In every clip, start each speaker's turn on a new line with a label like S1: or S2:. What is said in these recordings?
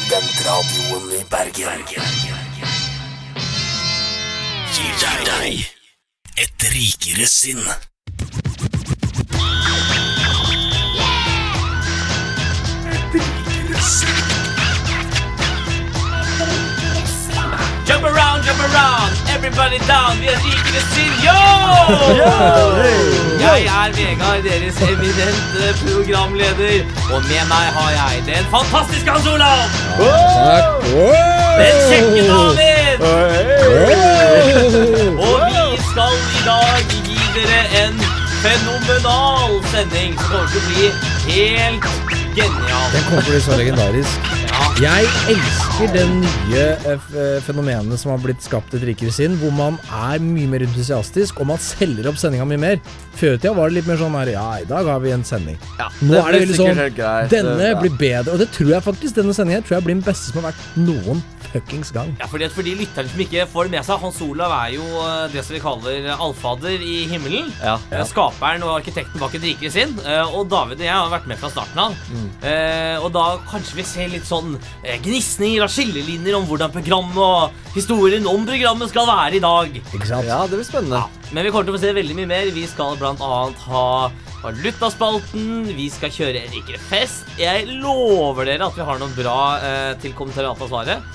S1: Studentradioen i Bergen. Gir deg et rikere sinn.
S2: Jump around, jump around, everybody down, vi er rikere sinn, yo! Jeg er Vegard, deres eminente programleder, og med meg har jeg den fantastiske Hans Olav, den kjekke David, og vi skal i dag gi dere en fenomenal sending som kommer til å bli helt genial.
S3: Den kommer til å bli så legendarisk. Jeg elsker det nye eh, f- eh, fenomenet som har blitt skapt et rikere sinn, hvor man er mye mer entusiastisk, og man selger opp sendinga mye mer. Før i tida var det litt mer sånn her Ja, i dag har vi en sending. Nå er det
S4: det blir
S3: veldig
S4: sikkert
S3: sånn
S4: helt greit.
S3: Denne
S4: Ja.
S3: blir bedre. Og det tror jeg faktisk. Denne sendinga tror jeg blir den beste som har vært noen fuckings gang.
S2: Ja, fordi at for de lytterne som ikke får det med seg, Hans Olav er jo eh, det som vi kaller allfader i himmelen.
S4: Ja.
S2: Eh, Skaperen og arkitekten bak et rikere sinn. eh, Og David og jeg har vært med fra starten av.
S4: Mm.
S2: Eh, Og da kanskje vi ser litt sånn eh, gnisninger av skillelinjer om hvordan programmet og historien om programmet skal være i dag.
S3: Ikke sant?
S4: ja, det blir spennende.
S2: Men vi kommer til å få se veldig mye mer. Vi skal bl.a. ha valutaspalten. Vi skal kjøre en rikere fest. Jeg lover dere at vi har noe bra eh, til kommentariatet og svaret.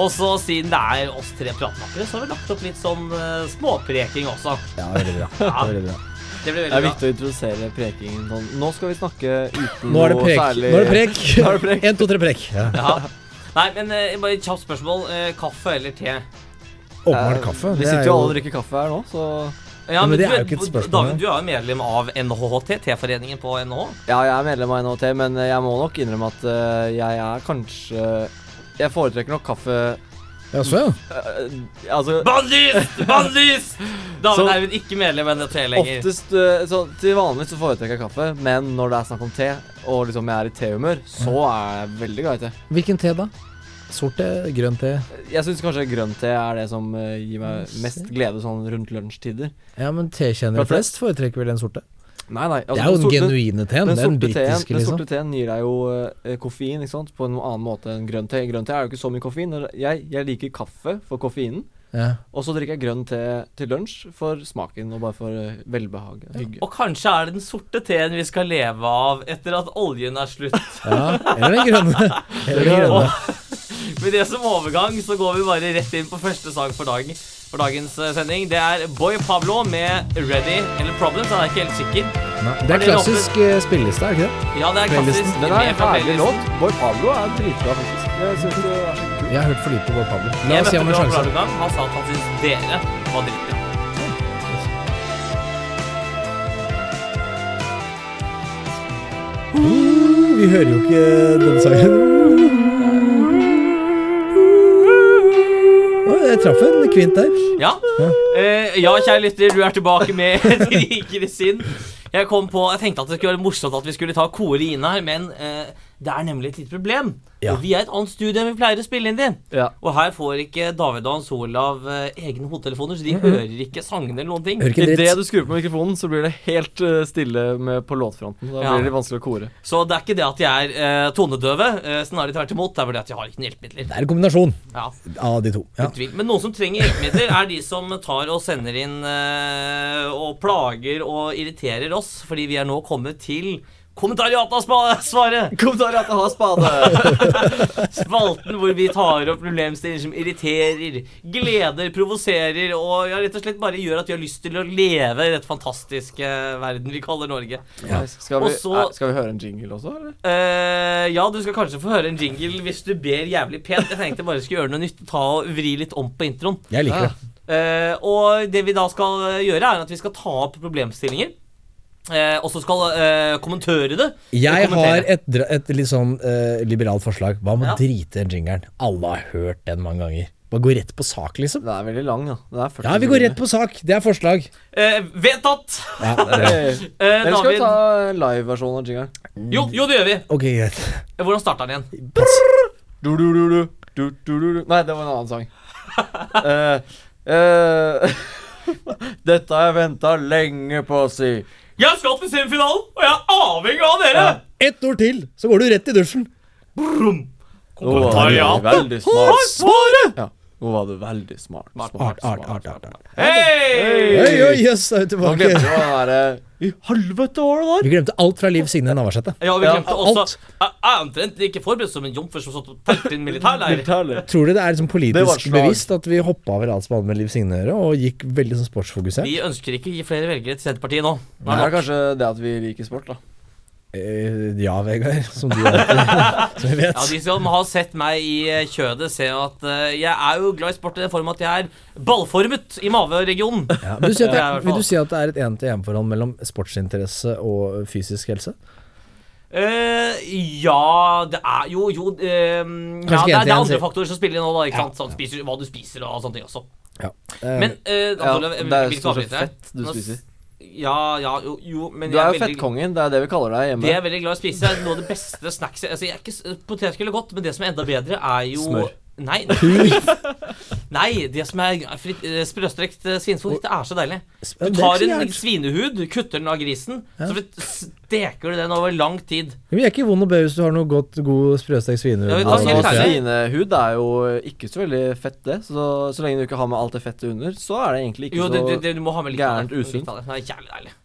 S2: Og så siden det er oss tre pratmakere, så har vi lagt opp litt sånn eh, småpreking også.
S3: Ja, veldig bra.
S2: Ja.
S3: Veldig bra.
S2: Det blir
S4: Det er
S2: veldig bra.
S4: viktig å introdusere prekingen sånn. Nå skal vi snakke uten
S3: Nå er det
S4: noe
S3: prek.
S4: særlig
S3: Nå er det prek.
S4: Nå er det prek.
S3: En, to, tre prek. Ja.
S2: Ja. Nei, men eh, bare et kjapt spørsmål. Eh, kaffe eller te?
S3: Åpenbart kaffe.
S4: Vi
S3: Det er
S4: sitter jo alle og
S3: jo
S4: drikker kaffe her nå, så
S2: Ja,
S3: men det
S2: du
S3: er jo ikke et spørsmål.
S2: David, du er jo medlem av NHHT, T-foreningen på NHH.
S4: Ja, jeg er medlem av NHT, men jeg må nok innrømme at eh, jeg er kanskje Jeg foretrekker nok kaffe
S3: Ja, så, ja.
S4: eh, Altså
S2: Bannlyst! Bannlyst! David
S4: Så-
S2: er jo ikke medlem av NHT lenger.
S4: Oftest eh, så Til vanlig så foretrekker jeg kaffe, men når det er snakk om te, og liksom jeg er i tehumør, så
S3: Mm.
S4: er jeg veldig glad i te.
S3: Hvilken te, da? Sort te? Grønn te?
S4: Jeg syns kanskje grønn te er det som eh, gir meg mest glede sånn rundt lunsjtider.
S3: Ja, men tekjennere flest foretrekker vel den sorte?
S4: Nei, nei. altså,
S3: Det er jo
S4: den
S3: den
S4: sorte-
S3: genuine teen. Den
S4: Den sorte, teen,
S3: britiske,
S4: den
S3: liksom.
S4: sorte teen gir deg jo eh, koffein ikke sant? på en annen måte enn grønn te. Grønn te er jo ikke så mye koffein. og Jeg, jeg liker kaffe for koffeinen,
S3: Ja.
S4: og så drikker jeg grønn te til lunsj for smaken og bare for eh, velbehag. Hygge.
S2: Og kanskje er det den sorte teen vi skal leve av etter at oljen er slutt.
S3: ja. Eller den grønne. Eller den grønne.
S2: Og med det som overgang så går vi bare rett inn på første sang for, dag, for dagens eh, sending. Det er Boy Pablo med 'Ready' eller 'Problems'. Jeg er ikke helt sikker.
S3: Nei, det er klassisk eh, spilleliste, er det ikke det?
S2: Ja, det er klassisk.
S4: Den er
S2: med
S4: en
S2: fra
S4: herlig
S2: playlisten.
S4: låt. Boy Pablo er dritbra, faktisk. Jeg synes det er så kult.
S3: Jeg har hørt for lite på Pablo. La
S2: Jeg
S3: oss gi
S2: møtte
S3: ham en
S2: Boy Pablo
S3: sjanse.
S2: en gang. Han sa at han syntes dere var dritbra.
S3: Vi hører jo ikke denne sangen. Å, Jeg traff en kvint der.
S2: Ja. Eh, ja, kjære lytter, du er tilbake med et rikere sinn. Jeg kom på, jeg tenkte at det skulle være morsomt at vi skulle ta koret inn her, men eh, det er nemlig et lite problem.
S3: Ja.
S2: Og vi er et annet studio enn vi pleier å spille inn i.
S4: Ja.
S2: Og her får ikke David og Hans Olav eh, egne hodetelefoner, så de hører ikke sangene eller noen ting.
S3: Hører ikke en
S4: Idet
S3: dritt.
S4: du skrur på mikrofonen, så blir det helt eh, stille med på låtfronten. Da
S2: Ja.
S4: blir det vanskelig å kore.
S2: Så det er ikke det at de er eh, tonedøve, eh, snarere tvert imot. Det er bare det at de har ikke noen hjelpemidler.
S3: Det er en kombinasjon
S2: Ja,
S3: av de to. Ja.
S2: uten tvil. Men noen som trenger hjelpemidler, er de som tar og sender inn eh, og plager og irriterer oss, fordi vi er nå kommet til kommentariatasvaret!
S4: Kommentarer at jeg har spade!
S2: Spalten hvor vi tar opp problemstillinger som irriterer, gleder, provoserer og ja, rett og slett bare gjør at vi har lyst til å leve i dette fantastiske verden vi kaller Norge.
S4: Nice. Skal,
S2: Og
S4: vi,
S2: så-
S4: eh, skal vi høre en jingle også, eller?
S2: Eh, ja, du skal kanskje få høre en jingle hvis du ber jævlig pent. Jeg tenkte bare jeg skulle gjøre noe nytt. Ta og Vri litt om på introen.
S3: Jeg liker det.
S2: Eh, og det vi da skal gjøre, er at vi skal ta opp problemstillinger. Eh, og så skal eh, kommentøre det.
S3: Jeg har
S2: Kommentere.
S3: et, dra- et litt sånn eh, liberalt forslag. Hva med
S2: Ja.
S3: å drite i den jingeren? Alle har hørt den mange ganger. Bare gå rett på sak, liksom.
S4: Den er veldig lang, da. Den er 40
S3: Ja, vi går rett på sak. Det er forslag.
S2: eh, Vedtatt!
S3: Ja, det er bra.
S4: Hey.
S2: Eh,
S4: Eller skal vi
S2: David.
S4: ta liveversjonen av jingeren?
S2: Jo, jo, det gjør vi.
S3: Ok, greit.
S2: Hvordan starta den igjen?
S4: Du, du, du, du. Du, du, du, du. Nei, det var en annen sang. Eh, eh, Dette har jeg venta lenge på å si.
S2: Jeg skal til semifinalen, og jeg er avhengig av dere!
S3: Ett ord til, så går du rett i dusjen.
S2: Brum.
S4: Nå var du veldig smart. Ja. Nå var du veldig smart. Smart,
S3: Art, art, art. art, art.
S2: Hei!
S3: Oi, oi, jøss, er vi
S4: Nå glemte du
S3: tilbake.
S4: hva det derre I helvete var det der?
S3: Vi glemte alt fra Liv Signe Navarsete.
S2: Ja, vi
S4: Ja,
S2: glemte
S3: alt.
S2: også Jeg jeg er omtrent like forberedt som en jomfru som satt og telte inn militærleir.
S4: Militærlig.
S3: Tror du det er liksom
S4: Det var et
S3: politisk
S4: slag.
S3: bevisst at vi hoppa over alt som hadde med Liv Signe å gjøre, og gikk veldig sånn sportsfokusert?
S2: Vi ønsker ikke å gi flere velgere til Senterpartiet nå.
S4: Det
S2: Nei,
S4: er kanskje det at vi liker sport, da.
S3: Eh, ja, Vegard, som du alltid som vi vet.
S2: Ja, De som har sett meg i eh, kjødet, ser at eh, jeg er jo glad i sport i den form at jeg er ballformet i maveregionen.
S3: Ja, vil, du si at det,
S2: Ja, i hvert fall.
S3: vil du si at det er et en-til-en-forhold mellom sportsinteresse og fysisk helse?
S2: Eh, ja, det er jo Jo, eh, ja, det, er,
S3: Kanskje ikke en til
S2: det er
S3: en,
S2: andre
S3: sier-
S2: faktorer som spiller inn nå, da. Ikke sant? Sånn, spiser, hva du spiser og sånne ting også.
S3: Ja.
S2: Men eh,
S4: Ja,
S2: Antonio, jeg-
S4: det er
S2: vil ikke
S4: stort
S2: avbryte
S4: sett
S2: deg.
S4: fett du
S2: Nå s-
S4: spiser.
S2: Ja, ja, jo, jo men
S4: Du
S2: jeg
S4: er jo
S2: veldig-
S4: fettkongen. Det er det vi kaller deg
S2: Det jeg
S4: hjemme.
S2: er veldig glad i å spise, er noe av det beste snackset altså, jeg er ikke, s- Potetgull er godt, men det som er enda bedre, er jo
S4: Smør.
S2: Nei, nei, det som er fritt, eh, sprøstrekt eh, svinfot, det er så deilig.
S3: Ja,
S2: Du
S3: det er
S2: tar
S3: ikke
S2: en
S3: gærent.
S2: svinehud, kutter den av grisen, så frit- steker du den over lang tid.
S3: Men jeg er ikke vond å be hvis du har noe godt, god sprøstekt svinehud.
S2: Ja, vi tar
S3: og-
S2: helt
S4: Altså,
S2: ærlig.
S4: Svinehud er jo ikke så veldig fett, det. Så, så lenge du ikke har med alt det fettet under, så er det egentlig ikke
S2: Jo, det, det, det,
S4: så
S2: du må ha med litt av
S4: gærent
S2: det.
S4: usunt.
S2: Litt av det. Mm. Det er jævlig deilig.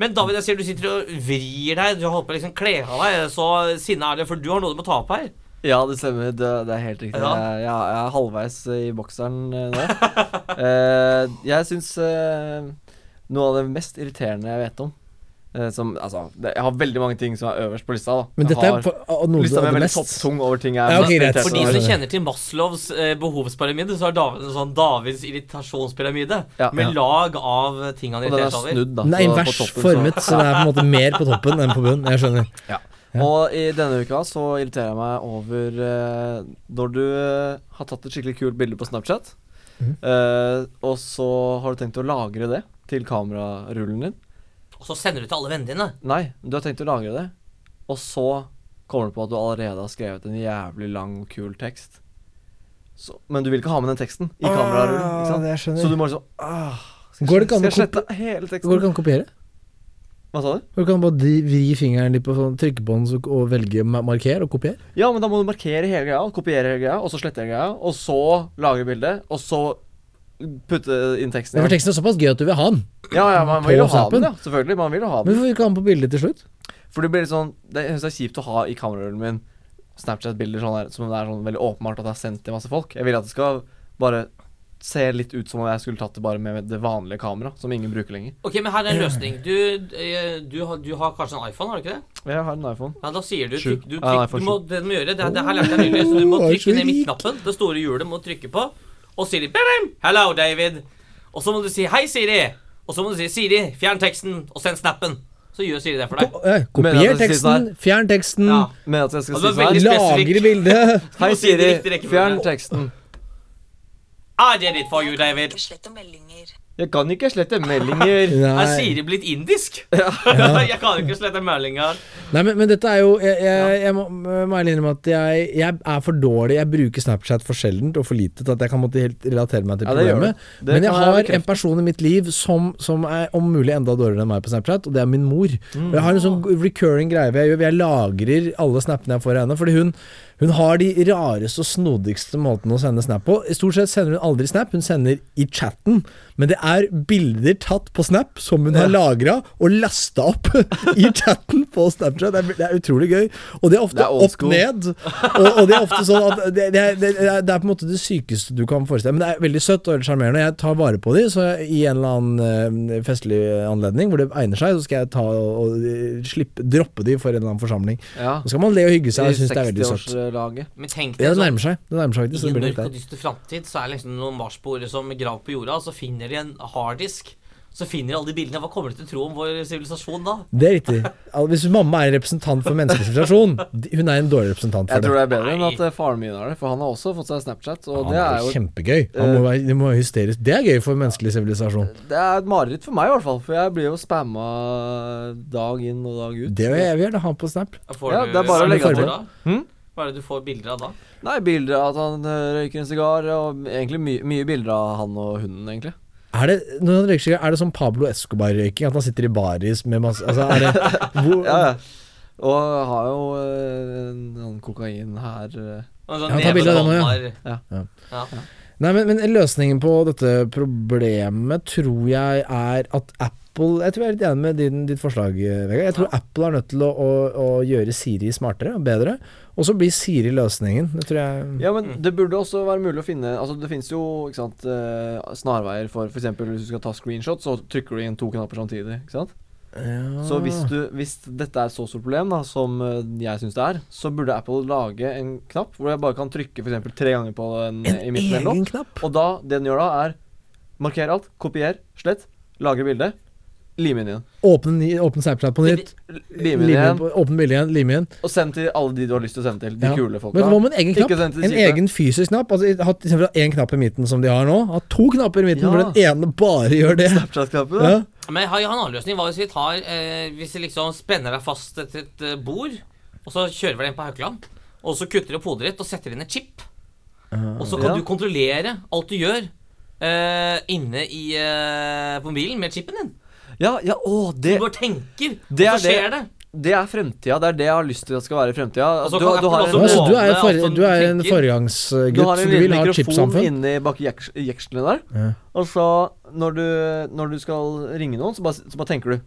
S2: Men David, jeg ser du sitter og vrir deg. Du har holdt på å liksom kle av deg, så sinne er det, for du har noe du må ta opp her.
S4: Ja, det stemmer. Det, det er helt riktig.
S2: Ja.
S4: Jeg, jeg, jeg er halvveis i bokseren eh, nå. Eh, jeg syns eh, noe av det mest irriterende jeg vet om eh, som, altså, det, Jeg har veldig mange ting som er øverst på lista. da
S3: Men
S4: Jeg
S3: dette er
S4: har-
S3: for, av noe
S4: Lista
S3: av
S4: mi er
S3: det
S4: veldig
S3: mest
S4: topptung over ting jeg
S3: Ja,
S4: er
S3: ok, greit.
S4: mest
S2: For
S3: Så
S2: de
S3: er
S4: interessert
S2: som
S4: i.
S3: det-
S2: kjenner til Maslows eh, behovspyramide, så er David en sånn Davids irritasjonspyramide.
S4: Ja.
S2: med
S3: Ja.
S2: lag av ting han
S4: Og den
S2: irriterer
S4: er
S2: seg over.
S4: snudd, da.
S3: Den er
S4: så på
S3: invers
S4: toppen, så-
S3: formet, så det er på en måte mer på toppen enn på bunnen. Jeg skjønner. Ja.
S4: Og i denne uka så irriterer jeg meg over eh, når du eh, har tatt et skikkelig kult bilde på Snapchat,
S3: Mhm.
S4: eh, og så har du tenkt å lagre det til kamerarullen din.
S2: Og så sender du til alle vennene dine.
S4: Nei, du har tenkt å lagre det, og så kommer du på at du allerede har skrevet en jævlig lang og kul tekst. Så, men du vil ikke ha med den teksten i kamerarullen.
S3: Ah,
S4: Ikke sant?
S3: det skjønner jeg.
S4: så du må liksom ah, skal,
S3: Går det
S4: jeg-
S3: ikke an
S4: skal jeg
S3: å
S4: slette
S3: Går
S4: hele
S3: det
S4: teksten?
S3: ikke an å kopiere?
S4: Hva sa du?
S3: Går det ikke an å bare di- vri fingeren litt på sånn trykkebånd så- og velge ma- marker og kopier?
S4: Ja, men da må du markere hele greia, kopiere hele greia, og så slette hele greia, og så lagre bildet, og så putte inn teksten.
S3: Ja, for
S4: igjen.
S3: teksten er såpass gøy at du vil ha den.
S4: Ja, ja, man vil jo
S3: på
S4: ha den,
S3: snappen.
S4: ja. Selvfølgelig. Man vil jo ha
S3: Men
S4: den.
S3: hvorfor ikke ha den på bildet til slutt?
S4: For det blir litt sånn Det jeg synes det er kjipt å ha i kamerarullen min Snapchat-bilder sånn der, som det er sånn veldig åpenbart at det er sendt til masse folk. Jeg vil at det skal bare se litt ut som om jeg skulle tatt det bare med det vanlige kameraet, som ingen bruker lenger.
S2: Ok, men her er en løsning. Du, eh, du, har, du har kanskje en iPhone, har du ikke det?
S4: Jeg har en iPhone.
S2: Ja, da sier du,
S4: Sju.
S2: trykk, du,
S4: Ja, nei,
S2: trykk,
S4: for
S2: du må,
S4: sju.
S2: Det du må gjøre, det, det her lærte jeg nylig, så du må
S3: Åh, jeg er så
S2: trykke ned
S3: rik.
S2: midtknappen. Det store hjulet må du trykke på, og sier de «Bim! Hello, David. Og så må du si 'Hei, Siri'. Og så må du si 'Siri, fjern teksten, og send snappen'. Så gjør Siri det for deg.
S3: Ko eh,
S4: Men
S3: kopier
S4: ja, det sier sånn
S3: teksten, fjern teksten,
S2: Ja.
S4: Men at jeg skal
S2: Ja, det
S4: si
S2: var
S4: sånn
S2: veldig
S4: her
S3: lagre
S2: spesifikk.
S3: bildet.
S4: Hei,
S2: Du må si det
S4: Siri,
S2: i riktig rekkefølge.
S4: fjern teksten.
S2: I did it for you, David.
S5: Slett og meldinger.
S4: Jeg kan ikke slette meldinger.
S2: Er
S3: Nei.
S2: Siri blitt indisk? jeg kan jo ikke slette meldinger.
S3: Nei, men, men dette er jo Jeg, jeg, jeg må, må ærlig innrømme at jeg, jeg er for dårlig. Jeg bruker Snapchat for sjeldent og for lite til at jeg kan måtte helt relatere meg til
S4: Ja, det gjør
S3: problemet.
S4: du. Det
S3: men jeg
S4: kan jeg
S3: har
S4: bekrefte.
S3: en person i mitt liv som, som er om mulig enda dårligere enn meg på Snapchat, og det er min mor. Og Jeg har en
S4: Mm.
S3: sånn recurring greie hvor jeg gjør hvor jeg lagrer alle snappene jeg får av henne. Fordi hun, hun har de rareste og snodigste måtene å sende snap på. I Stort sett sender hun aldri snap, hun sender i chatten. Men det er bilder tatt på snap som hun har lagra og lasta opp i chatten på Snapchat. Det er, det er utrolig gøy. Og det er ofte
S4: Det er old
S3: opp
S4: school.
S3: ned ned. Og, og det er ofte sånn at det, det, er- det, er- det er på en måte det sykeste du kan forestille deg. Men det er veldig søtt og veldig sjarmerende. Jeg tar vare på de, så i en eller annen eh, festlig anledning hvor det egner seg, så skal jeg ta og, og eh, slippe, droppe de for en eller annen forsamling.
S4: Ja.
S3: Så skal man le og hygge seg.
S4: I
S3: Jeg syns det er veldig søtt.
S4: 60-årslaget.
S2: Men tenk
S4: eh,
S2: deg
S3: Ja, det
S2: sånn-
S3: nærmer seg. Det nærmer seg faktisk.
S2: I en
S3: så det blir litt
S2: mørk og
S3: der.
S2: dyster framtid så er det liksom noen marsboere som graver på jorda, og så finner de en harddisk. Så finner de alle de bildene. Hva kommer de til å tro om vår sivilisasjon da?
S3: Det er riktig. Al- Hvis mamma er en representant for menneskesivitasjon, hun er en dårlig representant
S4: Jeg
S3: for
S4: tror
S3: det.
S4: det er bedre enn
S2: Nei.
S4: at eh, faren min har det, for han har også fått seg Snapchat. Og
S3: Han
S4: det
S3: er
S4: er
S3: jo
S4: jo Eh.
S3: kjempegøy. Han må være, det må være hysterisk. Det er gøy for menneskelig sivilisasjon.
S4: Det er et mareritt for meg, i hvert fall. For jeg blir jo spamma dag inn og dag ut.
S3: Det vil jeg gjerne ha på Snap.
S2: Får
S4: Ja,
S2: du-
S4: det er bare
S2: hva
S4: å
S2: du
S3: legge
S2: får
S3: til.
S2: da?
S4: Hm?
S2: Hva er det du får bilder av da?
S4: Nei, bilder av at han eh, røyker en sigar, og egentlig my mye bilder av han og hunden, egentlig.
S3: Er det, når han røyker sigaret, er det som Pablo Escobar-røyking? At han sitter i baris med masse altså, er det, hvor,
S4: Ja, ja. Og jeg har jo eh, noen kokain her. eh.
S2: Og sånn
S3: Ja, ta bilde av den også,
S2: nevedommer.
S3: Ja.
S2: Ja.
S3: Nei, men, men løsningen på dette problemet tror jeg er at Apple Jeg tror jeg er litt enig med din, ditt forslag, eh, Vegard. Jeg tror Apple er nødt til å, å, å gjøre Siri smartere og bedre. Og så blir Siri løsningen. Det tror jeg
S4: Ja, men det burde også være mulig å finne Altså, det finnes jo ikke sant, eh, snarveier for f.eks. hvis du skal ta screenshot, så trykker du inn to knapper samtidig. ikke sant?
S3: Ja.
S4: Så hvis, du, hvis dette er et så stort problem da, som eh, jeg syns det er, så burde Apple lage en knapp hvor jeg bare kan trykke f.eks. tre ganger på den
S3: En
S4: i midten. eller
S3: egen
S4: noe.
S3: knapp?
S4: Og da, det den gjør da, er marker alt, kopier, slett, lagre bildet, lim inn igjen.
S3: Åpne, ny- åpne Snapchat på nytt.
S4: Lim inn
S3: lim
S4: igjen,
S3: på- Åpne bildet igjen, lime igjen.
S4: og send til alle de du har lyst til å sende til. De
S3: Ja.
S4: kule
S3: Men hva
S4: folka.
S3: med en egen
S4: Ikke
S3: knapp?
S4: send til
S3: En
S4: kjipe.
S3: egen fysisk knapp? Altså, i- hatt, I stedet for å ha én knapp i midten som de har nå, ha to knapper i midten,
S4: Ja.
S3: for den ene bare gjør det.
S4: Snapchat-knappen, da.
S3: Ja.
S2: Men jeg har jo en annen løsning. Hva hvis vi tar eh, Hvis vi liksom spenner deg fast etter et eh, bord, og så kjører vi deg inn på Haukeland, og så kutter du opp hodet ditt og setter inn et chip, og så kan
S4: Ja.
S2: du kontrollere alt du gjør eh, inne i eh, på mobilen med chipen din.
S4: Ja, ja, å,
S2: Du
S4: det,
S2: bare tenker, og
S4: Det
S2: så
S4: er det.
S2: skjer det.
S4: det er fremtida. Det er det jeg har lyst til at skal være i fremtida.
S2: Og så
S4: Du,
S2: kan
S4: du har
S2: Apple også
S4: en,
S3: Altså, du er,
S2: måne,
S3: for,
S2: altså,
S3: du er en
S2: tenker-
S4: du har
S3: foregangsgutt, så
S4: en
S3: du vil
S4: lille
S3: ha et
S4: mikrofon
S3: chipsamfunn.
S4: inni bak jeks- jekslene der.
S3: Ja.
S4: Og så, når du, når du skal ringe noen, så bare, så bare tenker du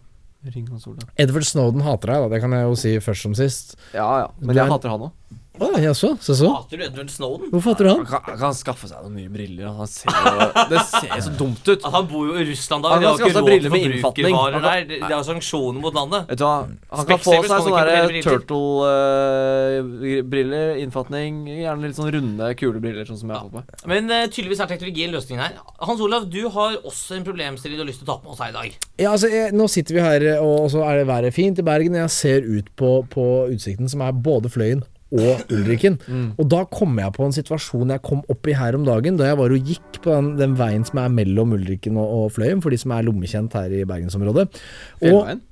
S4: Ring han Sola.
S3: Edward Snowden hater deg, da. Det kan jeg jo si først som sist.
S4: Ja ja, men
S3: Du er-
S4: jeg hater han òg.
S3: Å, jaså? Se så.
S2: Hater du Edward Snowden?
S3: Hvorfor hater du han?
S4: kan, skaffe seg noen nye briller. Han ser jo Det ser så dumt ut.
S2: At han bor jo i Russland da.
S4: Han
S2: De har
S4: skal
S2: ikke
S4: også ha
S2: råd til
S4: briller med innfatning.
S2: forbrukervarer
S4: Han
S2: der.
S4: kan-
S2: De de har sanksjoner mot landet.
S4: Vet du hva, Han kan
S2: Specsavers
S4: få seg
S2: kan
S4: sånne
S2: ikke
S4: der
S2: fortelle briller.
S4: turtle-briller, innfatning, gjerne litt sånn runde, kule briller, sånn som jeg har fått meg.
S2: Men eh, tydeligvis er teknologien løsningen her. Hans Olav, du har også en problemstilling du har lyst til å ta på oss her i dag.
S3: Ja, altså, jeg, nå sitter vi her, eh, og og så er det været fint i Bergen. og Jeg ser ut på, på utsikten, som er både Fløyen og Ulriken. Og da kom jeg på en situasjon jeg kom opp i her om dagen, da jeg var og gikk på den, den veien som er mellom Ulriken og, og Fløyen, for de som er lommekjent her i bergensområdet. Og,
S4: Fjellveien?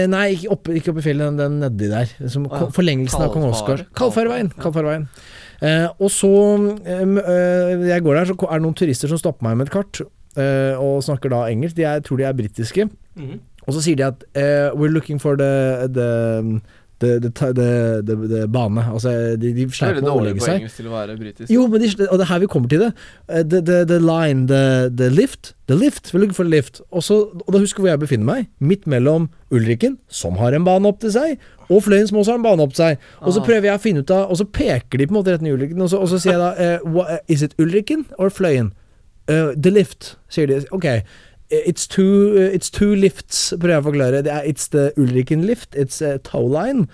S3: eh, nei, ikke oppe, ikke oppe i fjellet, den, den nedi der. Som,
S4: Å ja.
S3: Forlengelsen av Kong Oskar.
S4: Kalfar.
S3: Kalfarveien. Kalfarveien. Eh, og så eh, m- eh, Jeg går der, så er det noen turister som stopper meg med et kart, eh, og snakker da engelsk. De er, tror de er britiske.
S2: Mhm.
S3: Og så sier de at eh, We're looking for the the, the, the, ti- the, the, the bane. Altså, de, de
S4: Det er
S3: sleit
S4: veldig
S3: med å
S4: dårlig
S3: overlegge
S4: på
S3: seg.
S4: engelsk til å være britisk.
S3: Jo, men de, sl- og det er her vi kommer til det. Eh, The, the, the line, the, the lift. The lift. We're looking for the lift. Og, så, og da husker jeg hvor jeg befinner meg. Midt mellom Ulriken, som har en bane opp til seg, og Fløyen, som også har en bane opp til seg. Og så prøver jeg å finne ut av Og så peker de på en måte rett ned i Ulriken, og så, og så sier jeg da eh, wha- Is it Ulriken or Fløyen? Eh, the lift, sier de. Ok. eh, It's two, eh, it's two lifts, prøver jeg å forklare. Det er, it's the Ulriken lift, it's a tow line.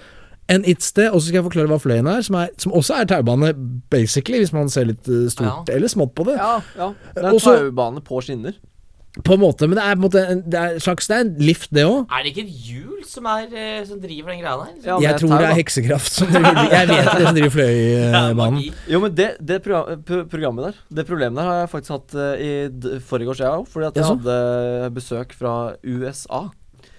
S3: And it's the, og så skal jeg forklare hva Fløyen er, som, er, som også er taubane, basically, hvis man ser litt eh, stort eller smått på det.
S4: Ja, ja. Det er
S3: Og
S4: en
S3: så-
S4: taubane på skinner.
S3: På en måte, men det er på en måte en, det er en slags Det er en lift, det òg.
S2: Er det ikke et hjul som, er, eh, som driver den greia der?
S4: Ja, men
S3: Jeg
S4: et
S3: tror
S4: tau,
S3: det
S4: da.
S3: er heksekraft som driver Jeg vet det som
S2: Det
S3: driver
S2: er
S3: Fløybanen.
S2: magi.
S4: Jo, men det, det progra- pro- programmet der Det problemet der har jeg faktisk hatt eh, i d- forrige års jeg òg. Fordi at jeg
S3: Jaså?
S4: hadde besøk fra USA.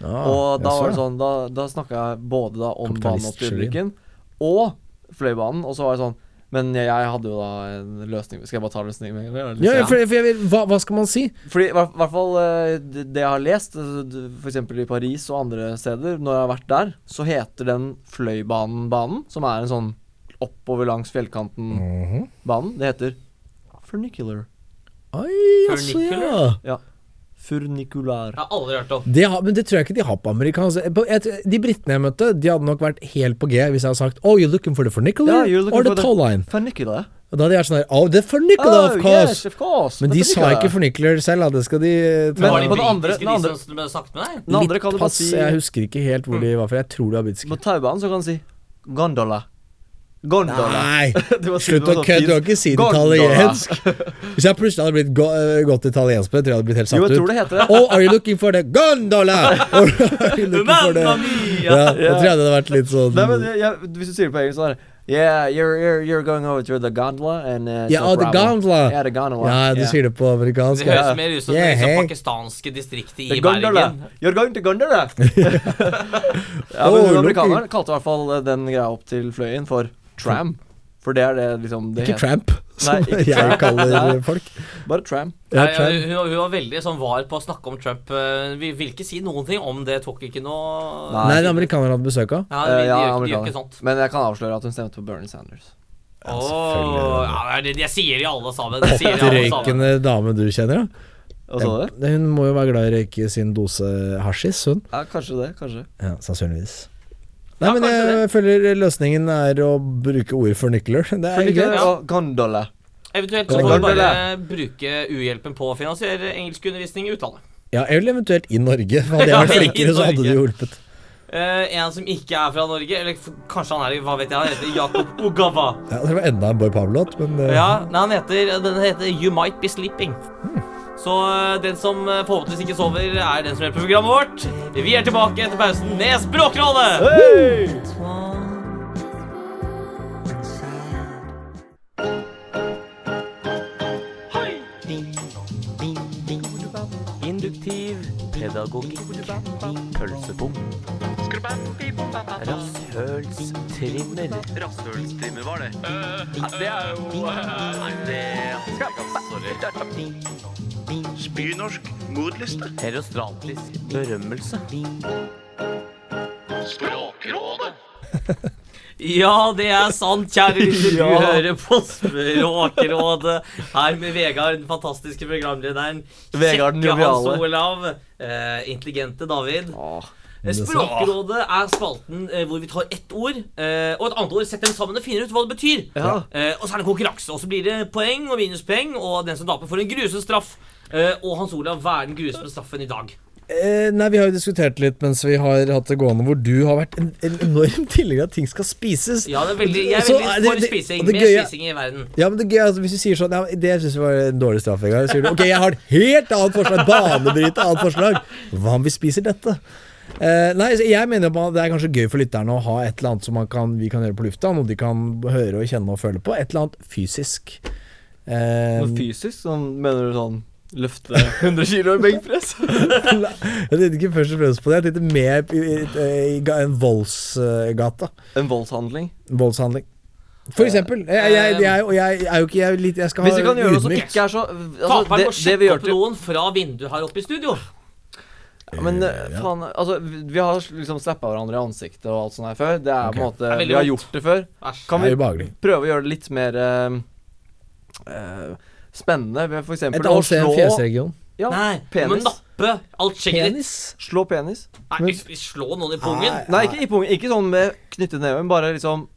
S3: Ja,
S4: og
S3: Ah, jeg så
S4: da var det
S3: det.
S4: sånn Da, da snakka jeg både da om banen opp til
S3: Kapitalistteorien.
S4: Ulriken og Fløibanen. Og så var det sånn Men jeg, jeg hadde jo da en løsning Skal jeg bare ta løsningen med en gang? eller?
S3: Ja, ja, for, for jeg, vil- hva, hva skal man si?
S4: Fordi i hvert hvert fall eh, det det jeg har lest, eh, d- for eksempel i Paris og andre steder, når jeg har vært der, så heter den Fløibanen-banen, som er en sånn oppover langs fjellkanten-banen.
S3: Mhm.
S4: Det heter Furnicular.
S3: Oi, jaså, ja.
S2: Furnicular?
S4: Ja. Furnicular.
S2: Jeg har aldri hørt om.
S3: Det har, men det tror jeg ikke de har på amerikansk på- jeg tror- De britene jeg møtte, de hadde nok vært helt på G hvis jeg hadde sagt Oh, you're looking for the
S4: Ja,
S3: funicular
S4: you're looking
S3: or the
S4: for the-
S3: tow line?
S4: Furnicular.
S3: Og da hadde jeg vært sånn der Oh, the funicular,
S4: Oh,
S3: of course!
S4: Yes, of course.
S3: Men de sa
S4: Funicular.
S3: ikke funicular selv, da. Det skal de eh, ta
S4: Men
S2: var de
S4: på den
S2: britiske
S4: andre- den andre-
S2: de som ble sagt med deg?
S4: Den andre kan du
S3: litt
S4: bare
S3: pass.
S4: si Mm.
S3: Jeg husker ikke helt hvor de var fra. Jeg tror de var britiske.
S4: På taubanen så kan du si gondola. Gondola.
S3: Nei!
S4: Du må si
S3: Slutt
S4: det på
S3: å
S4: sånn
S3: kødde, du har
S4: finsk.
S3: ikke si det
S4: Gondola.
S3: italiensk. Hvis jeg plutselig hadde blitt go eh, godt italiensk på det, tror jeg jeg hadde blitt helt satt
S4: Jo,
S3: ut.
S4: jeg tror det heter det.
S3: Oh, are you looking for the gondola? Or are you looking for the
S2: Mamma mia!
S3: Ja, jeg tror jeg det hadde vært litt sånn
S4: Nei, men jeg, jeg, Hvis du sier det på engelsk, så er det Yeah, you're, you're, you're going over to the gondola and uh, it's
S3: Ja,
S4: no
S3: oh, the
S4: problem."
S3: gondola.
S4: Yeah, the gondola.
S3: Ja, du
S4: yeah.
S3: sier det på amerikansk.
S2: Det
S3: ja.
S2: høres mer ut som
S3: Yeah,
S2: det liksom
S3: hey.
S2: pakistanske distriktet
S4: The
S2: i
S4: gondola.
S2: Bergen.
S4: You're going to gondola. ja,
S3: Oh,
S4: men
S3: look
S4: uh, Amerikaneren kalte i hvert fall eh, den greia opp til Fløyen for tram. For det er det liksom det
S3: Ikke tramp, som
S4: Nei, ikke
S3: jeg
S4: tramp.
S3: kaller
S4: Nei.
S3: folk.
S4: Bare tram.
S3: Ja,
S2: Nei,
S3: tramp.
S2: hun, hun var veldig sånn var på å snakke om Trump. eh, Vi vil ikke si noen ting om det. Tok ikke noe
S4: Nei.
S3: Nei, det er amerikanere hadde besøk av.
S2: Ja, de,
S4: Eh,
S2: de, gjør, ikke- de
S4: ja,
S2: gjør
S4: amerikaner.
S2: ikke sånt.
S4: Men jeg kan avsløre at hun stemte på Bernie Sanders.
S3: Ja,
S2: Åh,
S3: selvfølgelig.
S2: ja, det er det jeg sier i alle sammen. Det sier i alle sammen.
S3: Røykende dame du kjenner, da.
S4: Hva sa du?
S3: Hun må jo være glad i å røyke sin dose hasjis, hun.
S4: Ja, kanskje det. Kanskje.
S3: Ja, sannsynligvis. Nei,
S2: Ja,
S3: men jeg
S2: kanskje
S3: føler løsningen er å bruke ord for nykler. Det er gøy.
S2: Ja.
S4: Og gondola.
S2: Eventuelt så
S3: Ja,
S2: får vi
S4: det er
S2: bare bruke uhjelpen på å finansiere engelskundervisning i utlandet.
S3: Ja, eller eventuelt i Norge. Hadde jeg
S2: Ja,
S3: vært
S2: i
S3: flinkere, så hadde
S2: Norge.
S3: det hjulpet.
S2: Eh, en som ikke er fra Norge, eller f- kanskje han er i- hva vet jeg, han heter Jakob Ogawa.
S3: Ja, det var enda en Bård Pavlot, men eh,
S2: Ja, nei, han heter, den heter You Might Be Sleeping. Så eh, den som eh, forhåpentligvis ikke sover, er den som hjelper programmet vårt. Vi er tilbake etter pausen med Språkrådet! Induktiv pedagogikk. Pølsebom. Rasshølstrimmer.
S5: Rasshølstimer var det. det er jo Nei, eh, det Spynorsk modliste.
S2: Herostratisk berømmelse.
S5: Språkrådet.
S2: Ja, det er sant, kjære lytter. Du
S3: Ja.
S2: hører på Språkrådet her med Vegard, den fantastiske programlederen.
S4: Vegard den
S2: Kjekke Hans
S4: joviale.
S2: Olav. eh, intelligente David.
S4: Åh.
S2: Språkrådet er spalten eh, hvor vi tar ett ord eh, og et annet ord, setter dem sammen og finner ut hva det betyr.
S4: Ja.
S2: Eh, og så er det konkurranse, og så blir det poeng og minuspoeng, og den som taper, får en grusom straff. Eh, og Hans Olav, hva er den grusomme straffen i dag?
S3: eh, Nei, vi har jo diskutert litt mens vi har hatt det gående, hvor du har vært en, en enorm tilhenger av at ting skal spises.
S2: Ja, det er veldig, jeg er
S3: Så
S2: veldig
S3: er det-
S2: for
S3: det-
S2: spising.
S3: og det
S2: Mer
S3: gøye-
S2: spising i verden.
S3: Ja, men det er gøy, altså, Hvis du sier sånn ja, men Det syns jeg var en dårlig straff. Vegard», så sier du, ok, jeg har et helt annet forslag. Banebryter annet forslag. Hva om vi spiser dette? Eh, nei, så Jeg mener jo bare det er kanskje gøy for lytterne å ha et eller annet som man kan, vi kan gjøre på lufta. Noe de kan høre og kjenne og føle på. Et eller annet fysisk. Eh,
S4: Noe fysisk? Sånn, mener du sånn løfte 100 kilo i benkpress?
S3: jeg tenkte ikke først og fremst på det. Jeg tenkte mer i, i, i, ga- en voldsgata.
S4: En voldshandling?
S3: Voldshandling. For eksempel. Jeg, jeg, jeg, og jeg er jo ikke jeg, er litt, jeg skal
S4: Hvis vi kan gjøre noe som
S3: ydmyk.
S4: ikke er så altså,
S2: Taperen
S4: det,
S2: må
S4: det vi
S2: sjekke
S4: gjør
S2: opp
S4: til
S2: noen fra vinduet her oppe i studio.
S4: Men eh, faen, altså Vi vi har liksom slappa hverandre i ansiktet og alt sånt her før. Det er på
S3: Ok.
S4: en måte
S2: Det er veldig
S4: Vi har
S2: vondt.
S4: gjort det før.
S2: Æsj.
S4: Kan
S3: Det er
S4: vi
S3: ubehagelig.
S4: prøve å gjøre det litt mer eh, eh, spennende? Ved for
S3: Et
S4: eksempel å
S3: annet sted enn
S4: slå
S3: fjesregion.
S4: ja,
S2: Nei, du må
S4: penis.
S2: nappe alt skjegget ditt.
S3: Penis.
S4: Slå penis.
S2: Nei, ikke slå noen i pungen.
S3: Nei.
S4: Nei, ikke i pungen. Ikke sånn med knyttet neve, men bare liksom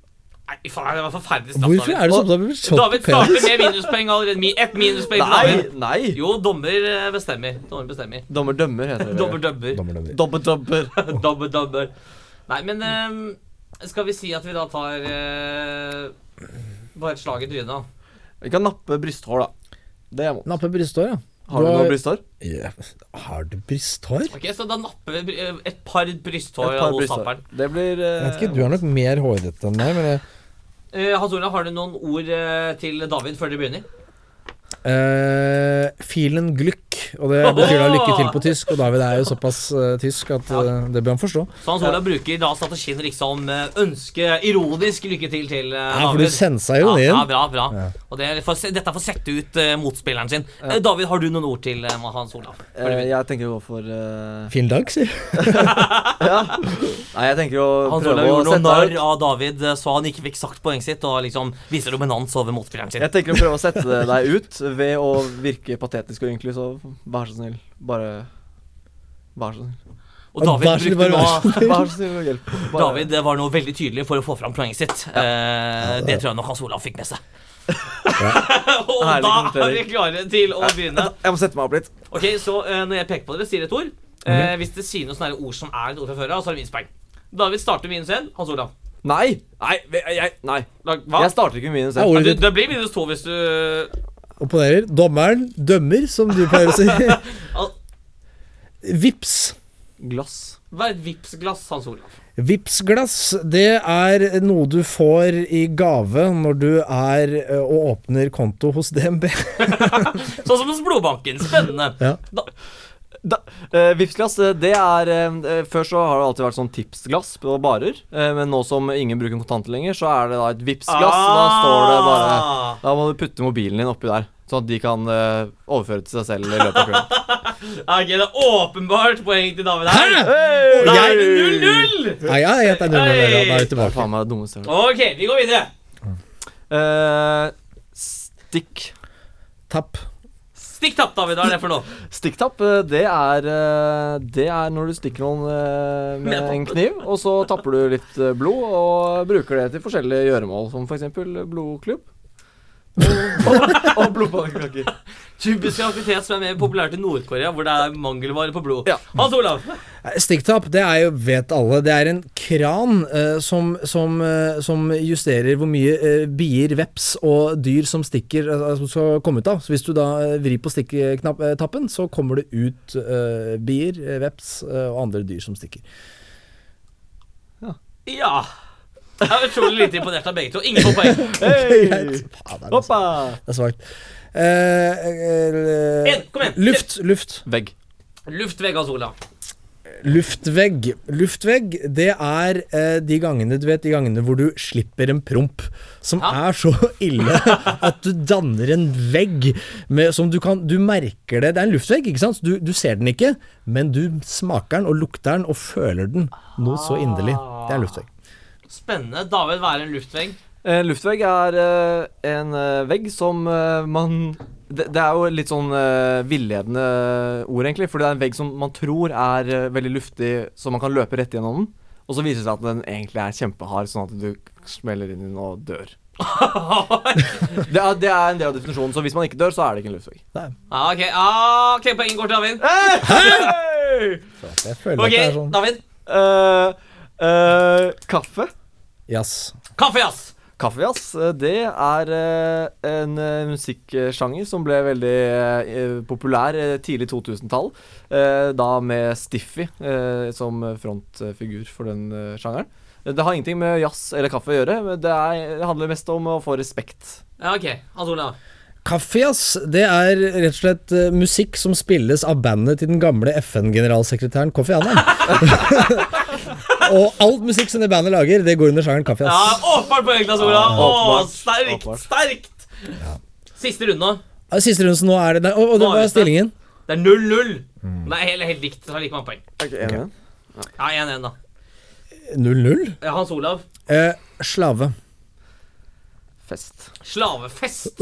S2: Nei, fy faen, det var forferdelig straff.
S3: Hvorfor er sånn? du så opptatt av å bli
S2: David,
S3: slått
S2: David
S3: på penis?
S2: starter med minuspoeng allerede. Mi- Ett minuspoeng for
S4: Nei!
S2: David.
S4: nei
S2: Jo, dommer eh, bestemmer. Dommer bestemmer.
S4: Dommer dømmer, heter det.
S2: Dommer dømmer.
S3: Dommer, dommer.
S4: Dobber dobber.
S2: Dommer dømmer. Nei, men eh, skal vi si at vi da tar eh, bare et slag i trynet, da?
S4: Vi kan nappe brysthår, da. Det må
S3: Nappe brysthår, ja.
S4: Har du noe brysthår?
S3: Ja, Har du brysthår?
S2: Ok, Så da napper vi bry- eh, et par brysthår
S4: Et par
S2: hos
S4: brysthår.
S2: tapperen.
S4: Det blir
S3: Jeg
S4: eh,
S3: vet ikke, Du er nok mer hårete enn meg. Men jeg,
S2: Eh, Hans Olav, har du noen ord eh, til David før dere begynner?
S3: Eh, filen glück, og det betyr da lykke til på tysk. Og David er jo såpass eh, tysk at eh, det bør han forstå.
S2: Så Hans Olav bruker da strategien liksom eh, ønske ironisk lykke til til eh,
S3: Ja, for du
S2: David.
S3: sensa
S2: Ja,
S3: jo den
S2: ja,
S3: inn.
S2: bra, bra. Og det er for, dette er for å sette ut eh, motspilleren sin. Eh, David, har du noen ord til eh, Hans Olav?
S4: eh, Jeg tenker å gå for eh,
S3: Fin dag, sier du.
S4: Nei, jeg tenker å
S2: Hans
S4: prøve
S2: Olav
S4: å
S2: gjorde noe
S4: sette
S2: narr av David, eh, så han ikke fikk sagt poenget sitt, og liksom viser dominans over motspilleren sin.
S4: Jeg tenker å prøve å sette deg ut ved å virke patetisk og ynkelig, så vær så snill. Bare Vær så snill.
S2: Og David
S3: Vær så snill,
S2: brukte
S3: bare vær
S2: nå
S4: Vær så snill og hjelp. Bare-
S2: David eh, var nå veldig tydelig for å få fram poenget sitt. Eh, det tror jeg nok Hans Olav fikk med seg. og
S4: Herlig
S2: da er vi
S4: kommentering.
S2: klare til å begynne.
S4: Jeg må sette meg opp litt.
S2: Ok, så eh, når jeg peker på dere, sier et ord.
S4: Mhm.
S2: Eh, hvis det sier noen sånne her ord som er et ord fra før av, så er det minuspoeng. David starter minus 1. Hans Olav.
S4: Nei! Nei! Jeg, nei.
S2: Lag, hva?
S4: jeg starter ikke med minus
S3: Ja,
S4: én.
S3: ordet
S2: Du,
S3: ditt
S2: det blir minus 2 hvis du
S3: Opponerer. Dommeren dømmer, som du pleier å si.
S2: Al-
S3: Vips.
S4: Glass.
S2: Hva er et vipsglass, Hans Olav?
S3: Vipsglass, det er noe du får i gave når du er eh, og åpner konto hos DNB.
S2: Sånn som hos blodbanken. Spennende.
S3: Ja.
S2: Da,
S4: da, eh, Vipsglass, eh, det er eh, eh, Før så har det alltid vært sånn tipsglass på barer. Eh, men nå som ingen bruker kontanter lenger, så er det da et Vipps-glass. og Da står det bare
S2: Ah!
S4: Da må du putte mobilen din oppi der, sånn at de kan eh, overføre til seg selv i løpet av kvelden.
S2: Ok, det er åpenbart poeng til David her.
S3: Hæ?
S2: Da er det
S4: Hey!
S2: 0-0!
S3: Nei, ja, jeg heter null, null, null, ja, da er vi
S4: Det er
S3: tilbake.
S4: faen meg det dummeste jeg har hørt.
S2: Ok, vi går videre.
S4: Eh, Stikk
S3: Tapp.
S2: Stikk tapp, David. Hva er det for noe?
S4: Stikktapp, eh, det er eh, Det er når du stikker noen eh, med en kniv, og så tapper du litt eh, blod og bruker det til forskjellige gjøremål, som f.eks. blodklubb. Og, og blodpannekaker.
S2: Typisk aktivitet som er mer populært i Nord-Korea, hvor det er mangelvare på blod.
S4: Ja.
S2: Hans Olav.
S3: Stikktapp, Eh, det er jo, vet alle, det er en kran eh, som, som, eh, som justerer hvor mye eh, bier, veps og dyr som stikker, eh, som skal komme ut av. Så hvis du da eh, vrir på stikktappen, så kommer det ut eh, bier, eh, veps eh, og andre dyr som stikker.
S2: Ja. Jeg er utrolig lite imponert av begge to. Ingen får poeng.
S4: Hei!
S3: Greit. Faen, det er
S4: Hoppa!
S3: Det er svakt. Eh, eh,
S2: En, kom igjen.
S3: Luft, luft.
S4: Vegg.
S2: Luftvegg, Hans Olav.
S3: Luftvegg. Luftvegg, det er eh, de gangene du vet, de gangene hvor du slipper en promp som
S2: Ja.
S3: er så ille at du danner en vegg med, som du kan Du merker det. Det er en luftvegg, ikke sant? Så Du, du ser den ikke, men du smaker den og lukter den og føler den noe så inderlig. Det er en luftvegg.
S2: Spennende. David, hva er en luftvegg?
S4: Eh, luftvegg er eh, en eh, vegg som eh, man det, det er jo litt sånn eh, villedende ord, egentlig. For det er en vegg som man tror er eh, veldig luftig, så man kan løpe rett gjennom den. Og så viser det seg at den egentlig er kjempehard, sånn at du smeller inn i den og dør. Det er, det er en del av definisjonen, så hvis man ikke dør, så er det ikke en luftvegg.
S2: Ah, ok, ah, ok, poengen går til David.
S3: Jeg føler
S2: Ok,
S3: at det er sånn
S2: David.
S4: Eh, eh, kaffe.
S3: Jazz.
S2: Kaffe, ass.
S4: Kaffejazz, eh, det er eh, en eh, musikksjanger som ble veldig eh, populær eh, tidlig 2000-tall. eh, Da med Stiffy eh, som frontfigur for den eh, sjangeren. Eh, Det har ingenting med jazz eller kaffe å gjøre, men det, er, det handler mest om å få respekt.
S2: Ja, ok. Hans Olav.
S3: Kaffejazz, det er rett og slett eh, musikk som spilles av bandet til den gamle FN-generalsekretæren Kofi Annan. og alt musikk som det bandet lager, det går under sjangeren
S2: Ja,
S3: kaffejazz.
S2: åpenbart poeng, Hans Olav. Å,
S4: åpenbart.
S2: sterkt,
S4: Åpenbart.
S2: sterkt. Siste runde nå.
S3: Ja, Eh, Siste runde, så nå er det der. Og, og det
S2: Nå er
S3: var
S2: det
S3: stillingen.
S2: Det er 0-0.
S3: Mm.
S2: Det er helt, helt likt. Det er like mange poeng.
S4: Okay.
S2: Ja, 1-1, da.
S3: 0-0.
S2: Ja, Hans Olav.
S3: Eh, slave.
S4: Fest.
S2: Slavefest.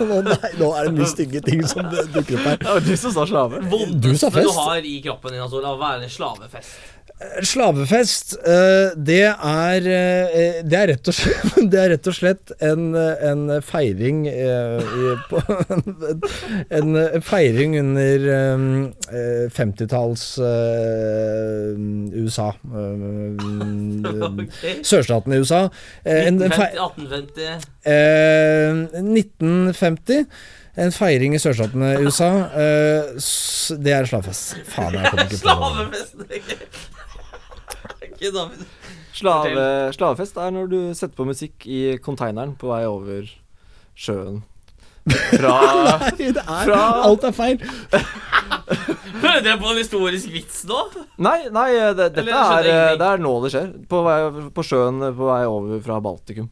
S3: Å nei, nå er det mye stygge ting som det dukker opp her.
S4: Det var du som sa slave.
S2: Vondeste du,
S3: fest.
S2: har i kroppen din, Hans Olav, hva er en slavefest?
S3: Eh, Slavefest, eh, det er eh, Det er rett og slett, det er rett og slett en, eh, en feiring eh, i- på, En eh, feiring under eh, eh, 50-talls eh, USA. Eh,
S2: Ok.
S3: Sørstaten i USA. Eh, en, en, fei-
S2: 1950, 1850
S3: Eh, 1950. En feiring i sørstatene i USA. Eh, s- det er slavefest. Faen, jeg kommer ikke på det.
S2: Slavefest! Ok, David.
S4: Slave, slavefest er når du setter på musikk i konteineren på vei over sjøen. Fra
S3: Nei, det er,
S4: Fra-
S3: alt er feil.
S2: Prøvde jeg på en historisk vits nå?
S4: Nei, nei det, dette
S2: Eller skjønner
S4: er,
S2: jeg
S4: eh,
S2: ingenting.
S4: det er nå det skjer. På, vei, på sjøen eh, på vei over fra Baltikum.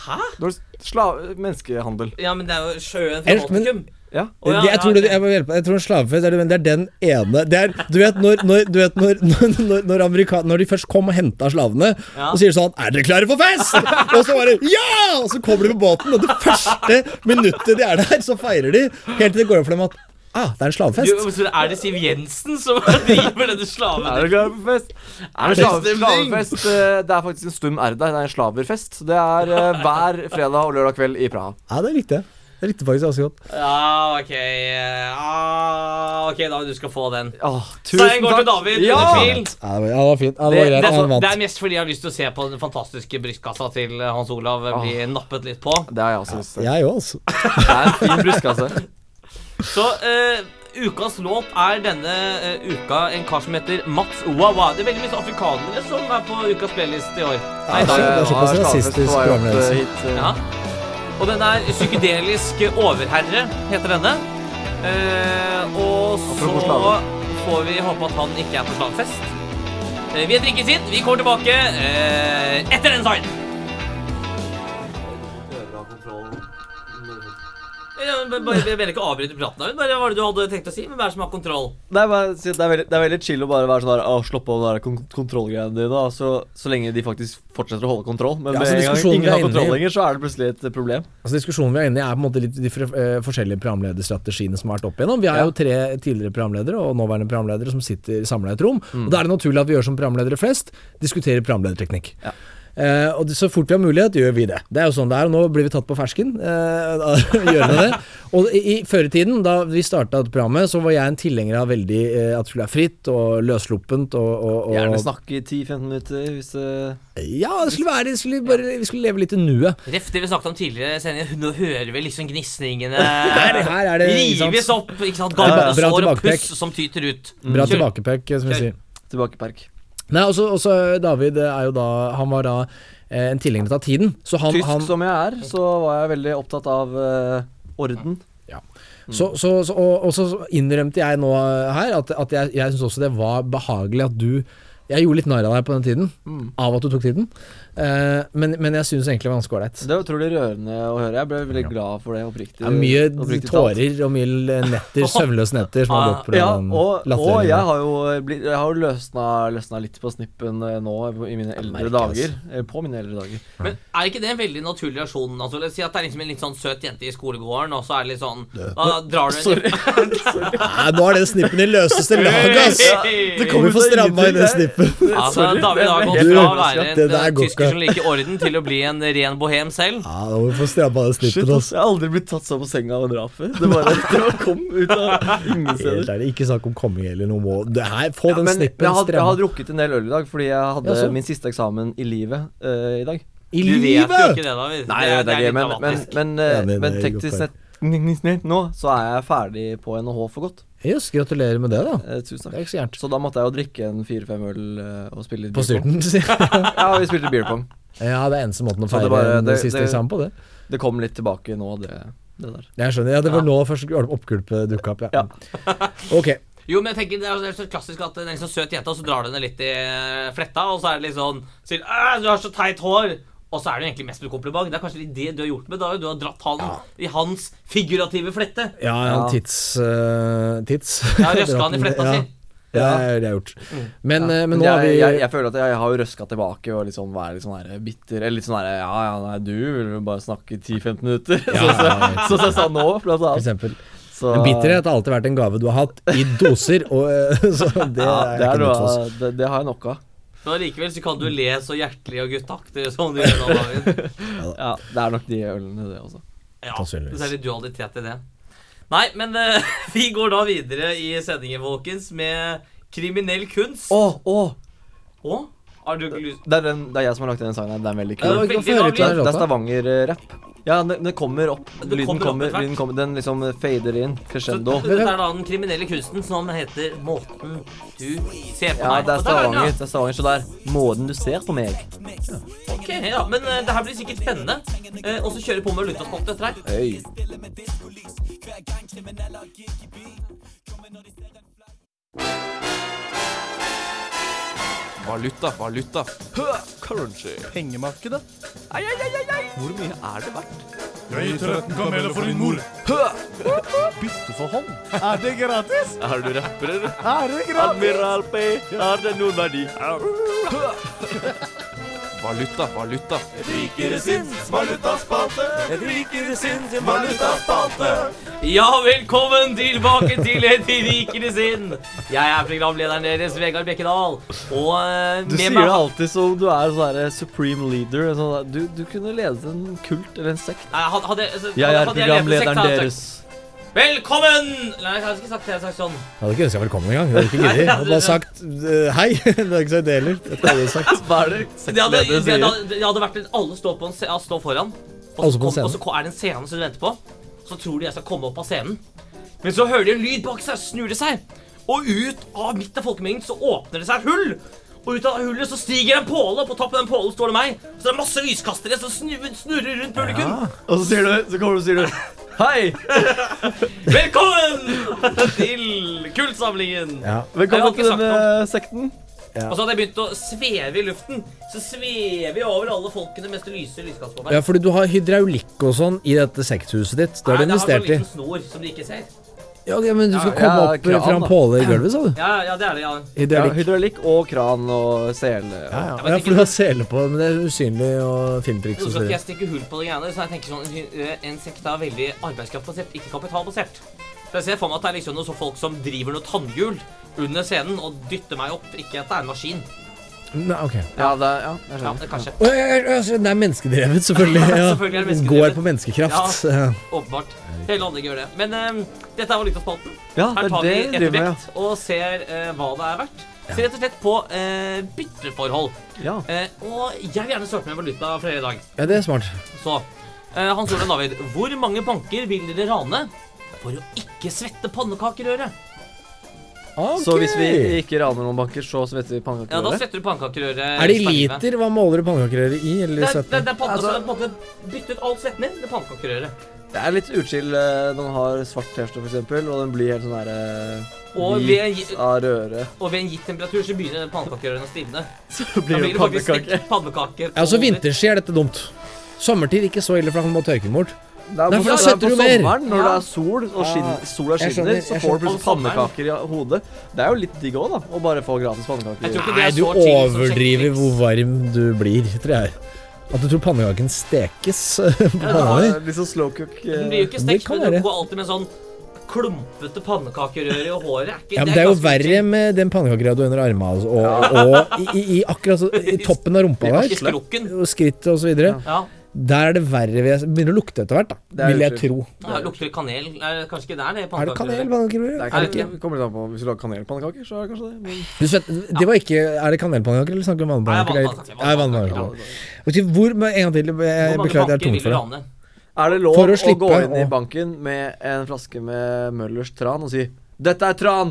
S2: Hæ?
S4: Da er det sla- menneskehandel.
S2: Ja, men det er jo sjøen fra
S3: Elt, men-
S2: Baltikum.
S4: Ja.
S2: Å, ja,
S3: Det- jeg,
S2: ja,
S3: tror det,
S2: ok.
S3: jeg, må hjelpe, deg. jeg tror en slavefest er det, men det er den ene det er, Du vet når, når, du vet når, når, når, når, amerika- når de først kom og henta slavene,
S2: Ja.
S3: og sier sånn 'Er dere klare for fest?' og så bare 'Ja!' Og så kommer de på båten, og det første minuttet de er der, så feirer de. Helt til det går opp for dem at 'Ah, det er en slavefest'.
S2: Du, så er det Siv Jensen som driver denne
S4: Er
S2: slaven?
S4: dere klare for fest? Er det slave, slavefest? eh, Det er faktisk en stum R der. Det er en slaverfest. Det er eh, hver fredag og lørdag kveld i Praha.
S3: Ja, det likte jeg. Det likte jeg faktisk ganske godt.
S2: Ja, ok. Ja, ok, da du skal få den.
S4: Åh, tusen
S2: Seieren går til David.
S4: Ja!
S2: uten tvil.
S3: Ja, det var, ja, det var fint. Ja, det
S2: Det,
S3: var greit.
S2: det,
S3: Han
S2: er, det
S3: vant.
S2: er mest fordi jeg har lyst til å se på den fantastiske brystkassa til eh, Hans Olav eh,
S3: Ah.
S2: bli nappet litt på.
S4: Det har jeg også lyst til.
S3: Jeg òg, altså.
S4: Det er en fin altså. brystkasse.
S2: Så eh, ukas låt er denne eh, uka en kar som heter Mats Oawa. Det er veldig mye sånn afrikanere som er på ukas playlist i år. Nei, i
S3: det
S2: dag.
S3: er såpass
S4: Nå
S3: rasistisk
S4: slavefest på vei opp, eh,
S3: programledelse.
S4: hit, eh.
S2: Ja. Og den er psykedelisk overherre, heter denne. Eh, og Og så
S4: Apropos slaver.
S2: får vi håpe at han ikke er på slavefest. Eh, Vi har drikket sitt. Vi kommer tilbake eh, etter den sangen.
S4: eh.
S2: Ja, men bare- Jeg vil ikke avbryte praten. David. Bare hva var det du hadde tenkt å si? Men hva er det som har kontroll?
S4: Nei, bare, si at det, er veldig, det er veldig chill å bare være sånn der Å, slå på de der kon kontrollgreiene dine, da. Så, så lenge de faktisk fortsetter å holde kontroll. Men
S3: Ja,
S4: med
S3: så
S4: en gang
S3: diskusjonen vi
S4: ingen
S3: er
S4: har kontroll
S3: inne i-
S4: lenger, så er det plutselig et problem.
S3: Altså Diskusjonen vi er inne i, er på en måte litt de fre- eh, forskjellige programlederstrategiene som har vært opp igjennom. Vi er
S4: Ja.
S3: jo tre tidligere programledere og nåværende programledere som sitter samla i et rom.
S4: Mm.
S3: Og Da er det naturlig at vi gjør som programledere flest, diskuterer programlederteknikk.
S4: Ja.
S3: Eh, og det- så fort vi har mulighet, gjør vi det. Det er jo sånn det er, og nå blir vi tatt på fersken. Eh, da gjør vi det. Og i, i føretiden, da vi starta dette programmet, så var jeg en tilhenger av veldig eh, at det skulle være fritt og løssluppent og, og, og
S4: Gjerne snakke i 10-15 minutter hvis eh, det
S3: Ja, det skulle være det. Skulle bare, vi skulle leve litt i nuet.
S2: Ref det vi snakket om tidligere i sendingen. Nå hører vi liksom gnisningene
S3: Her- her er det, ikke sant?
S2: rives opp. ikke sant?
S3: Bra- bra
S2: Gammelsår og
S3: tilbakepekk.
S2: puss som tyter ut.
S4: Mm.
S3: Bra
S2: Kjør.
S3: tilbakepekk, eh, som vi
S2: Kjør.
S3: sier.
S4: Tilbakeperk.
S3: Nei, også, også eh, David er jo da Han var da eh, en tilhenger av tiden. Så han,
S4: Tysk
S3: han
S4: som jeg er, så var jeg veldig opptatt av eh, orden.
S3: så, så, så, og, og så innrømte jeg nå eh, her at, at jeg, jeg syns også det var behagelig at du Jeg gjorde litt narr av deg på den tiden,
S4: Mm.
S3: av at du tok tiden, eh, men, men jeg syns egentlig det var ganske ålreit.
S4: Det var utrolig rørende å høre. Jeg ble veldig glad for det, oppriktig.
S3: Det er mye
S4: oppriktig talt.
S3: tårer og mye netter, søvnløse netter som har gått på den
S4: Ja, og, og
S3: latterliggjøringen.
S4: jeg har jo, blitt, jeg har jo løsna, løsna litt på snippen eh, nå i mine eldre
S3: merker altså. jeg,
S4: dager. Eh, På mine eldre dager.
S2: Men er ikke det en veldig naturlig reaksjon? Altså, la oss si at det er liksom en litt sånn søt jente i skolegården, og så er det litt sånn Da drar du Sorry.
S3: Nei, nå er den snippen i løseste laget, ass!
S2: Det
S3: Kan vi få stramma inn den snippen?
S2: Altså, David har gått
S3: helt
S2: fra å
S3: overrasket.
S2: være en
S3: Det der
S2: eh,
S3: går
S2: tysker
S3: ikke.
S2: som liker orden, til å bli en ren bohem selv.
S3: Ja, nå må vi få stramma den
S4: Shit,
S3: snippen,
S4: ass,
S3: ass.
S4: jeg har aldri blitt tatt så på senga av en raper. Det bare, det bare kom ut av ingen
S3: Helt
S4: steder.
S3: ærlig, ikke snakk om komming eller noe må det her, Få
S4: Ja,
S3: den
S4: men jeg
S3: snippen
S4: har, jeg har
S3: stramma
S4: drukket en del øl i dag fordi jeg hadde
S3: Ja, så.
S4: min siste eksamen i livet eh, i dag.
S3: I
S2: Du vet jo ikke
S3: livet!
S2: det, David.
S4: Nei, jeg vet
S2: det er
S4: ikke,
S2: litt
S4: men, men,
S2: dramatisk.
S4: men, eh,
S3: Ja, men det
S4: men
S3: er godt
S4: teknisk
S3: poeng.
S4: sett nå så er jeg ferdig på NHH for godt.
S3: Jøss, gratulerer med det, da.
S4: Eh, tusen
S3: Det er
S4: takk.
S3: ikke så gærent.
S4: Så da måtte jeg jo drikke en fire-fem øl eh, og spille litt
S3: På
S4: beer pong.
S3: styrten, sier jeg.
S4: Ja, vi spilte beer pong.
S3: Ja, det er eneste måten å
S4: Så det
S3: feire
S4: bare-
S3: en
S4: det-
S3: siste
S4: det-
S3: eksamen på, det.
S4: Det kom litt tilbake nå, det, det der.
S3: Jeg skjønner. Ja, det var nå først oppgulpet dukka eh, opp, ja.
S4: Ja.
S3: Ok.
S2: Jo, men jeg tenker Det er jo- det er så klassisk at det er en sånn søt jente, og så drar du henne litt i eh, fletta, og så er det litt sånn Sier «Æ, 'Du har så teit hår', og så er det jo egentlig mest med kompliment. Det er kanskje litt det du har gjort med David. Du har dratt han i hans figurative flette.
S3: Ja, ja,
S4: Ja.
S3: tids... eh, tids.
S2: Ja, røska han i fletta
S3: Ja.
S2: si.
S3: Ja, det er det jeg har gjort. Men, eh, men nå
S4: jeg,
S3: har vi
S4: jeg, jeg føler at jeg, jeg har jo røska tilbake og liksom vært litt sånn her bitter. Eller litt sånn her Ja, ja, nei, du vil jo bare snakke i 10-15 minutter.
S3: Ja,
S4: så,
S3: ja,
S4: så, så jeg sa nå, blant
S3: for
S4: annet.
S3: eksempel.
S4: Så,
S3: Men bitterhet har alltid vært en gave du har hatt, i doser, og eh, så det
S4: Ja,
S3: er
S4: det,
S3: ikke
S4: er
S3: nytt for
S4: noe,
S3: oss.
S4: det, det har jeg nok av.
S2: Men allikevel så kan du le så hjertelig og gutteaktig som du gjør nå, David.
S4: Ja, det er nok de ølene, det også.
S2: Ja,
S3: Sannsynligvis.
S2: det er litt dualitet i det. Nei, men eh, vi går da videre i sendingen, folkens, med kriminell kunst.
S4: Å,
S2: Å?
S4: å!
S2: Har du ikke lyst
S4: Det er, den, det er jeg som har lagt den sangen her. Den er veldig
S2: Ja,
S4: kul.
S2: det var
S3: Kan få
S2: Veldig
S3: høre
S4: Det
S3: til
S4: er,
S3: den
S4: det er
S3: låta?
S4: Stavanger-rapp. Ja, den, den kommer opp.
S2: Den
S4: Lyden
S2: kommer opp
S4: kommer,
S2: etter hvert.
S4: lyden kommer. Den liksom fader inn. Crescendo.
S2: Så Dette er da den kriminelle kunsten som heter måten du ser på
S4: Ja,
S2: meg på. Der den,
S4: det er
S2: ja.
S4: Stavanger. Det er Stavanger, Så det er måten du ser på meg.
S2: Ok, ja, men eh, det her blir sikkert spennende. Eh, og så kjører vi på med Lutaspolt etter her.
S4: Hey.
S5: Valuta, valuta. Hø, Currency. Pengemarkedet. Ei, ei, ei, ei, ei. Hvor mye er det verdt?
S6: Jeg gir 13 kameler for din mor.
S5: Bytte for hånd.
S6: Er det gratis?
S5: Er du rapper, eller?
S6: Er det gratis?
S5: Admiral P, har det noen verdi? Hø. Valuta, valuta.
S6: Rikere sinns valutaspalte. Rikere sinns valutaspalte.
S2: Ja, velkommen tilbake til Et rikere sinn. Jeg er programlederen deres, Vegard Bekkedal. Og eh, med
S4: Du sier
S2: meg
S4: det alltid som du er sånn der supreme leader. en Sånn der, du, du kunne ledet en kult eller en sekt.
S2: Nei, Hadde, hadde, altså,
S4: Jeg er
S2: hadde jeg levd i sekt,
S4: programlederen
S2: hadde jeg sagt,
S4: deres.
S2: Velkommen! Nei, jeg hadde ikke sagt det. Jeg hadde sagt sånn.
S3: Jeg hadde ikke ønska velkommen engang. Jeg hadde ikke giddet. Jeg hadde bare sagt eh, hei. Det hadde ikke sagt det heller. Dette hadde jeg sagt.
S4: Hva er det
S2: Det hadde, det,
S4: sektledere
S2: det,
S4: sier?
S2: hadde, det hadde vært litt Alle står, på en, sce- ja, står foran. Og så,
S3: Alle på en
S2: kom,
S3: scene.
S2: og så ko- er det en scene som du venter på. Så tror de jeg skal komme opp av scenen. Men så hører de en lyd bak seg, snur det seg. Og ut av midt av folkemengden så åpner det seg et hull. Og ut av hullet så stiger en påle, og på toppen av den pålen står det meg. Så det er masse lyskastere som snu- snurrer rundt publikum.
S4: Og så sier du, så kommer du og sier du Hei!
S2: Velkommen til Kultsamlingen!
S3: Ja.
S4: Velkommen
S2: Jeg
S4: til
S2: har ikke
S4: denne sekten.
S2: Og så hadde jeg begynt å sveve i luften. Så svever jeg over alle folkene mens det lyser lyskast på meg.
S3: ja, fordi du har hydraulikk og sånn i dette sekthuset ditt. Det har du
S2: Nei,
S3: investert
S2: Det har sånn
S3: i.
S2: liten snor som de ikke ser.
S3: Ja, ok, men du skal
S4: Ja,
S3: komme
S4: ja,
S3: opp eh, fra
S4: kran,
S3: en
S4: da.
S3: påle i gulvet, sa du?
S2: Ja, ja, det er det, ja.
S4: Ja,
S3: Hydraulikk.
S4: hydraulikk og kran og sele.
S3: Ja, ja.
S2: Jeg vet
S3: ja,
S2: ikke-
S3: for du har sele på, men det er usynlig og filmtriks
S2: Jo, så skal
S3: og så
S2: ikke
S3: videre.
S2: jeg stikke hull på de greiene, så jeg tenker sånn eh, En sekt er veldig arbeidskraftbasert, ikke kapitalbasert. Så jeg ser for meg at det er liksom noen sånne folk som driver noe tannhjul under scenen og dytter meg opp. Ikke at det er en maskin.
S3: Nei, ok.
S4: Ja, det, sånn. ja, jeg
S2: Ja,
S4: skjønner.
S2: kanskje.
S3: Å, ja, ja, ja, så Det er menneskedrevet, selvfølgelig. Ja.
S2: Selvfølgelig er det
S3: Går
S2: menneskedrevet.
S3: på menneskekraft. Ja.
S2: Åpenbart. Hele anlegget gjør det. Men eh, dette er jo litt av spalten.
S4: Ja, det
S2: Her
S4: er
S2: tar
S4: det
S2: vi
S4: vi
S2: et
S4: driver med.
S2: vekt og ser eh, hva det er verdt. Så rett og slett på eh, bytteforhold.
S4: Ja.
S2: Eh, og jeg vil gjerne starte med valuta for dere i dag.
S3: ja, det er smart.
S2: Så eh, Hans Olav David, hvor mange banker vil dere rane for å ikke svette pannekakerøret?
S3: Ok.
S4: Så hvis vi ikke raner noen banker, så svetter vi pannekaker?
S2: Ja, da
S4: over?
S2: svetter du pannekakerøret.
S3: Er det i
S2: resten av livet.
S3: liter? Hva måler du pannekakerøret i?
S2: Det er,
S3: Eller i
S2: det,
S3: søtten?
S2: det er altså, panne, så det er på en måte byttet alt svetten inn med pannekakerøret.
S4: Det er litt uchill eh, når man har svart T-skjorte, for eksempel, og den blir helt sånn derre
S2: Og
S4: Hvit
S2: ved-
S4: av røre.
S2: Og ved en gitt temperatur så begynner pannekakerørene å stivne.
S4: Så
S2: Da
S4: blir det
S2: faktisk
S4: pannekaker.
S2: stekt pannekaker.
S3: Ja, så
S2: på-
S3: vinterstid er Altså, dette dumt. Sommertid ikke så ille, for da kan du bare tørke den bort.
S4: Det er
S3: Nei,
S4: på-
S3: for da
S4: det er
S3: svetter
S4: på
S3: du mer.
S4: Sommeren, når det
S2: Ja.
S4: er sol, og skinn,
S3: Ah,
S4: sola
S3: jeg
S4: skinner,
S3: skjønner,
S4: så
S3: jeg
S4: får du
S2: skjønner.
S4: plutselig pannekaker i hodet. Det er jo litt digg òg, da. Å bare få gratis
S2: Jeg
S4: pannekaker.
S2: tror ikke det
S3: Nei,
S2: er
S3: du
S2: så chill som
S3: overdriver
S2: sjekketriks.
S3: hvor varm du blir, tror jeg. At du tror pannekaken stekes på
S2: Ja,
S3: panna di.
S4: Ja, Litt sånn slow cook. eh,
S2: Den blir jo ikke
S3: Det
S2: stekt,
S3: kan
S2: men
S3: være.
S2: du går alltid med sånn klumpete pannekakerøre i håret. Er ikke,
S3: Ja, men det er jo
S2: ganske
S3: verre
S2: chill.
S3: med den pannekakegrøa du har under armene altså, og, og, i, i, i akkurat så, i toppen av rumpa
S2: Ikke
S3: der.
S2: skrukken.
S3: Og skrittet og så videre.
S2: Ja,
S3: Der er det verre. Vil jeg, begynner å lukte etter hvert,
S4: Det
S3: da.
S4: er
S3: Vil jeg
S4: utrolig.
S3: tro.
S2: ja, lukter det kanel. Er det kanskje ikke der det
S3: Er det kanel i
S2: pannekakerøret?
S4: Det er
S2: Er
S3: pannekakegrøa?
S2: det
S4: kanel,
S2: ikke?
S4: kommer litt an på Hvis du lager kanelpannekaker, så er det kanskje det. Men
S3: Du vet, Det var ikke Er det kanelpannekaker, eller snakker vi
S2: Nei,
S3: om vannpannekaker?
S2: vannpannekaker,
S3: Nei,
S2: vannpannekaker.
S3: vannpannekaker. Ok, Hvor men En gang til. Jeg beklager, det er tungt for deg.
S2: deg.
S4: er det lov
S3: For å
S4: å,
S3: slippe
S4: gå inn i
S3: å-
S4: banken med en flaske med Møllers tran og si 'Dette er tran'?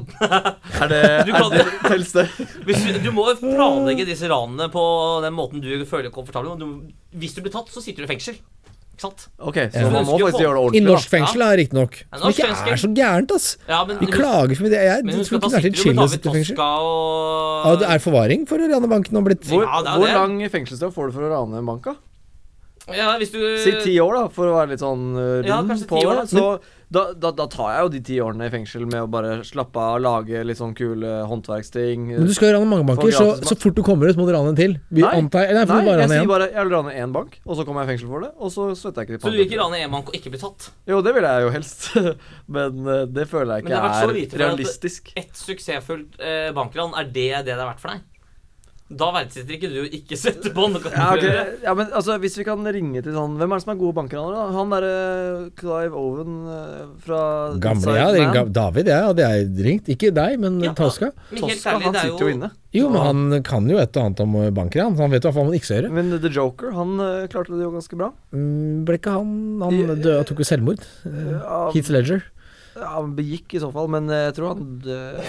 S4: er det,
S2: Du
S4: er
S2: kan-
S4: det tels det?
S2: Hvis du, du må planlegge disse ranene på den måten du føler komfortabel med. Du- Hvis du blir tatt, så sitter du i fengsel. Ikke sant?
S4: OK, så
S3: Ja.
S4: man må faktisk gjøre
S3: I
S4: det ordentlig.
S3: norsk fengsel, da, riktignok.
S2: Ja,
S3: Som
S2: norsk
S3: ikke
S2: fengsel.
S3: er så gærent, ass.
S2: Ja, men,
S3: Vi klager for mye. Jeg
S2: men husk
S3: tror
S2: at
S3: ikke
S2: da
S3: det er så
S2: sitter du
S3: chill
S2: med
S3: å
S2: David
S3: sitte i fengsel.
S2: Toska
S3: Ja,
S2: og
S3: det er forvaring for å rane banken og blitt
S4: Hvor,
S2: Ja, det er
S4: hvor
S2: det.
S4: lang fengselsstraff får du for å rane en bank, da?
S2: ja, hvis du
S4: Si ti år, da, for å være litt sånn uh, rund
S2: Ja, kanskje
S4: på
S2: ti år,
S4: det. Så da, da, da tar jeg jo de ti årene i fengsel med å bare slappe av, lage litt sånn kule håndverksting.
S3: Men du skal jo rane mange banker, så,
S4: gratis
S3: så fort du kommer ut, må du rane en til. Vi
S4: Nei.
S3: antar Nei, for
S4: Nei,
S3: du bare
S4: jeg
S3: rane
S4: sier
S3: én.
S4: bare jeg vil rane én bank, og så kommer jeg i fengsel for det. Og så svetter jeg ikke i
S2: Så du vil ikke rane en bank og ikke bli tatt?
S4: Jo, det vil jeg jo helst, men eh, det føler
S2: Men
S4: jeg
S2: det
S4: ikke
S2: har vært så
S4: er
S2: lite for at-
S4: realistisk.
S2: Ett suksessfullt eh, bankran, er det det det er verdt for deg? Da verdsetter ikke du å ikke sette på noe.
S4: Ja, ok. ja, men altså, Hvis vi kan ringe til sånn Hvem er det som er gode bankranere? da? Han derre Clive Owen eh, fra
S3: Gamle,
S4: Inside
S3: ja. det er
S4: Man.
S3: ga- David, ja, hadde jeg ringt. Ikke deg, men
S2: Ja.
S3: Toska.
S2: Men helt
S4: Tosca,
S2: ærlig,
S4: han
S2: det er
S4: sitter jo inne.
S3: Jo, men han kan jo et og annet om eh, bankran. så Han vet jo hva man ikke skal gjøre.
S4: Men The Joker, han eh, klarte det jo ganske bra.
S3: Mm, Ble ikke han Han
S4: I-
S3: døde, tok jo selvmord. Eh,
S4: Ja,
S3: Heath Ledger.
S4: Ja, han begikk i så fall, men eh, jeg tror han døde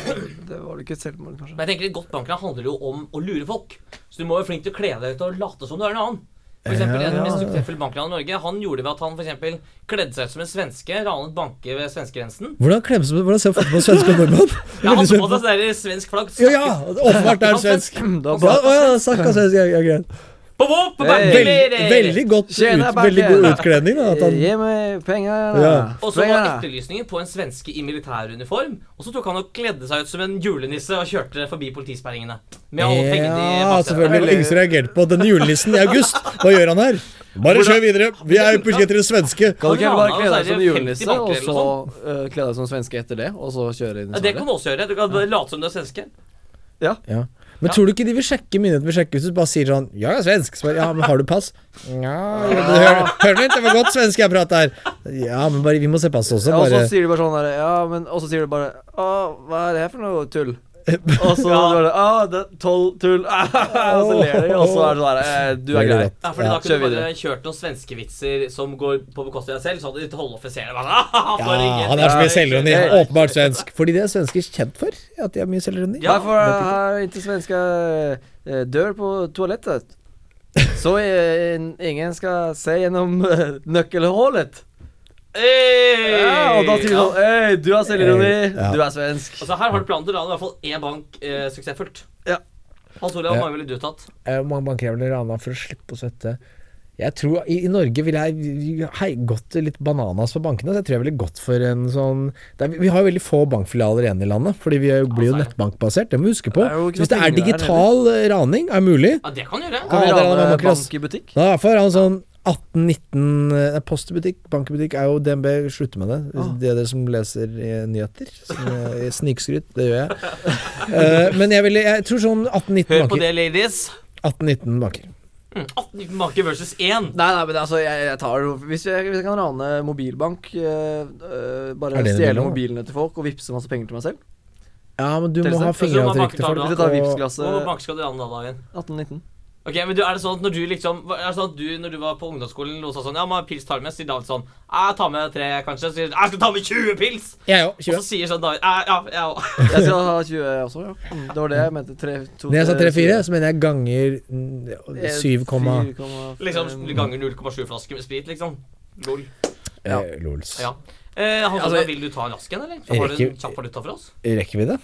S4: Det var vel ikke et selvmord, kanskje.
S2: Men jeg tenker et godt bankran handler jo om å lure folk. Så du må være flink til å kle deg ut og late som du er en annen. For eksempel,
S3: Ja,
S2: En av de mest
S3: ja, ja.
S2: suksessfulle bankranen i Norge Han gjorde det ved at han for eksempel kledde seg ut som en svenske, ranet banker ved svenskegrensen.
S3: Hvordan klemmes det Hvordan ser folk på svenske og nordmenn?
S2: Ja, han
S3: Veldig
S2: tok på
S3: spent.
S2: seg sånn der svensk flagg.
S3: Ja, ja! Åpenbart det er svensk.
S4: Da
S3: Ja, Å ja, snakka svensk. Ja, ja, greit.
S2: På våp, på
S4: Hey.
S3: Veld,
S2: banker!
S3: veldig, godt ut,
S4: Tjena,
S3: veldig god utkledning. Da, at
S4: Eh,
S3: han,
S4: Gi meg penger, da.
S3: Ja.
S2: Og så var
S4: Penger.
S2: etterlysningen på en svenske i militæruniform. Og så tok han og kledde seg ut som en julenisse og kjørte forbi politisperringene. Med alle pengene i
S3: ja,
S2: baksetet.
S3: selvfølgelig. Det yngste reagerte på denne julenissen i august. Hva gjør han her? Bare kjør videre. Vi er på utkikk etter det svenske.
S4: Kan du ikke
S2: Kan
S4: bare
S2: du
S4: kle
S2: rane
S4: deg
S2: oss, er
S4: som
S2: det 50
S4: julenisse, og
S2: banker
S4: så eh, kle deg som svenske etter det, og så kjøre inn i
S2: Ja, det kan
S4: Sverige?
S2: du også gjøre. Du kan bare late som du er svenske.
S3: Ja. Men tror du ikke de vil sjekke myndigheten vil sjekke hvis du bare sier sånn Ja, jeg er svensk. Så bare, ja, men har du pass? Nja jo, du hører, hører du ikke? Det var godt svensk jeg prater her. Ja, men bare, vi må se passet også.
S4: Ja, og så
S3: Bare.
S4: sier de bare sånn derre Ja, men Og så sier de bare Å, hva er det her for noe tull? Og så
S2: Ja.
S4: bare Å, det er tolv tull Og så ler de, og så er det sånn derre eh, Du er grei.
S3: Veldig
S2: Ja,
S3: godt.
S2: fordi Da kunne
S3: Ja.
S4: Kjør
S2: du bare
S4: videre.
S2: kjørt noen svenskevitser som går på bekostning av deg selv. Så hadde de holdoffiserne bare «Ah, for
S3: Ja,
S2: ingen».
S3: han er så mye selvroni.
S4: Ja, ja.
S3: Åpenbart svensk. Fordi det er svensker kjent for. At de er mye selvroni.
S2: Ja.
S4: Her får jeg her ikke svenska eh, dør på toalettet. Så eh, ingen skal se gjennom eh, nøkkelhullet.
S2: Hey!
S4: Ja, og da sier vi sånn Øy, du har selvironi.
S3: Ja.
S4: Du er svensk.
S2: Altså, her har du planen til å lage i hvert fall én bank eh, suksessfullt.
S4: Ja.
S2: Hans Olav,
S3: Ja.
S2: hvor mange ville du tatt?
S3: Eh, Mange banker vil rana for å slippe å svette. Jeg tror I, i Norge ville jeg hei, gått litt bananas for bankene. Så jeg tror jeg ville gått for en sånn det er, Vi har jo veldig få bankfilialer igjen i landet, fordi vi er jo- blir jo
S2: Altså,
S3: nettbankbasert. Det må vi huske på.
S4: Det er jo ikke
S3: Så hvis det
S4: noe
S3: er
S4: penger der
S3: digital eh, raning, er mulig.
S2: Ja, det kan du gjøre.
S4: Kan vi
S3: Ja, det er
S4: rane
S3: Mamma Klass.
S4: bank i butikk?
S3: Da er det han sånn 18-19 eh, Postbutikk, bankbutikk er jo DNB slutter med det. Det
S4: Ah.
S3: er dere som leser eh, nyheter. som, eh, Snikskryt, det gjør jeg. Eh, men jeg, ville, jeg tror sånn 18-19
S2: Hør på
S3: banker.
S2: det, ladies.
S3: 18-19 banker.
S2: Mm, 18 make versus 1.
S4: Nei, nei, men altså, jeg, jeg tar jo Hvis jeg, hvis jeg kan rane mobilbank, øh, øh,
S3: Er
S4: bare
S3: det en idé
S4: stjele
S3: nå?
S4: mobilene til folk og vippse masse penger til meg selv
S3: Ja, men du må
S4: Tusen
S3: ha
S4: takk.
S3: fingeravtrykk
S2: Så
S3: til
S2: da
S3: folk.
S4: Hvis jeg tar
S3: og-
S4: Vipps-klasse
S2: Hvor mange banker skal du rane da, Dagen?
S4: 1819.
S2: Ok, men du, er det sånn at når du liksom Er det sånn at du når du var på ungdomsskolen og sa sånn Ja, man pils tar med, sier David sånn Jeg tar med tre, kanskje. Så sier du, Jeg skal ta med 20 pils!
S3: Jeg òg.
S2: Og
S3: 20.
S2: så sier sånn David «Jeg- Ja, jeg òg.
S4: Jeg skal ha 20 også, ja. Mm, Det var det jeg mente. Tre, to, eh,
S3: Når jeg sa
S4: tre,
S3: 3-4,
S4: syv.
S3: så mener jeg ganger
S4: Eh,
S3: 7,
S4: fire komma fem.
S2: Liksom ganger 0,7 flasker med sprit, liksom. Lol.
S4: ja.
S3: eh, lols.
S2: Ja. Eh, Hans
S4: Altså,
S2: Olav, vil du ta en rask en, eller? Så har du en
S3: rekker-
S2: kjapp valuta for oss?
S3: Rekker vi det?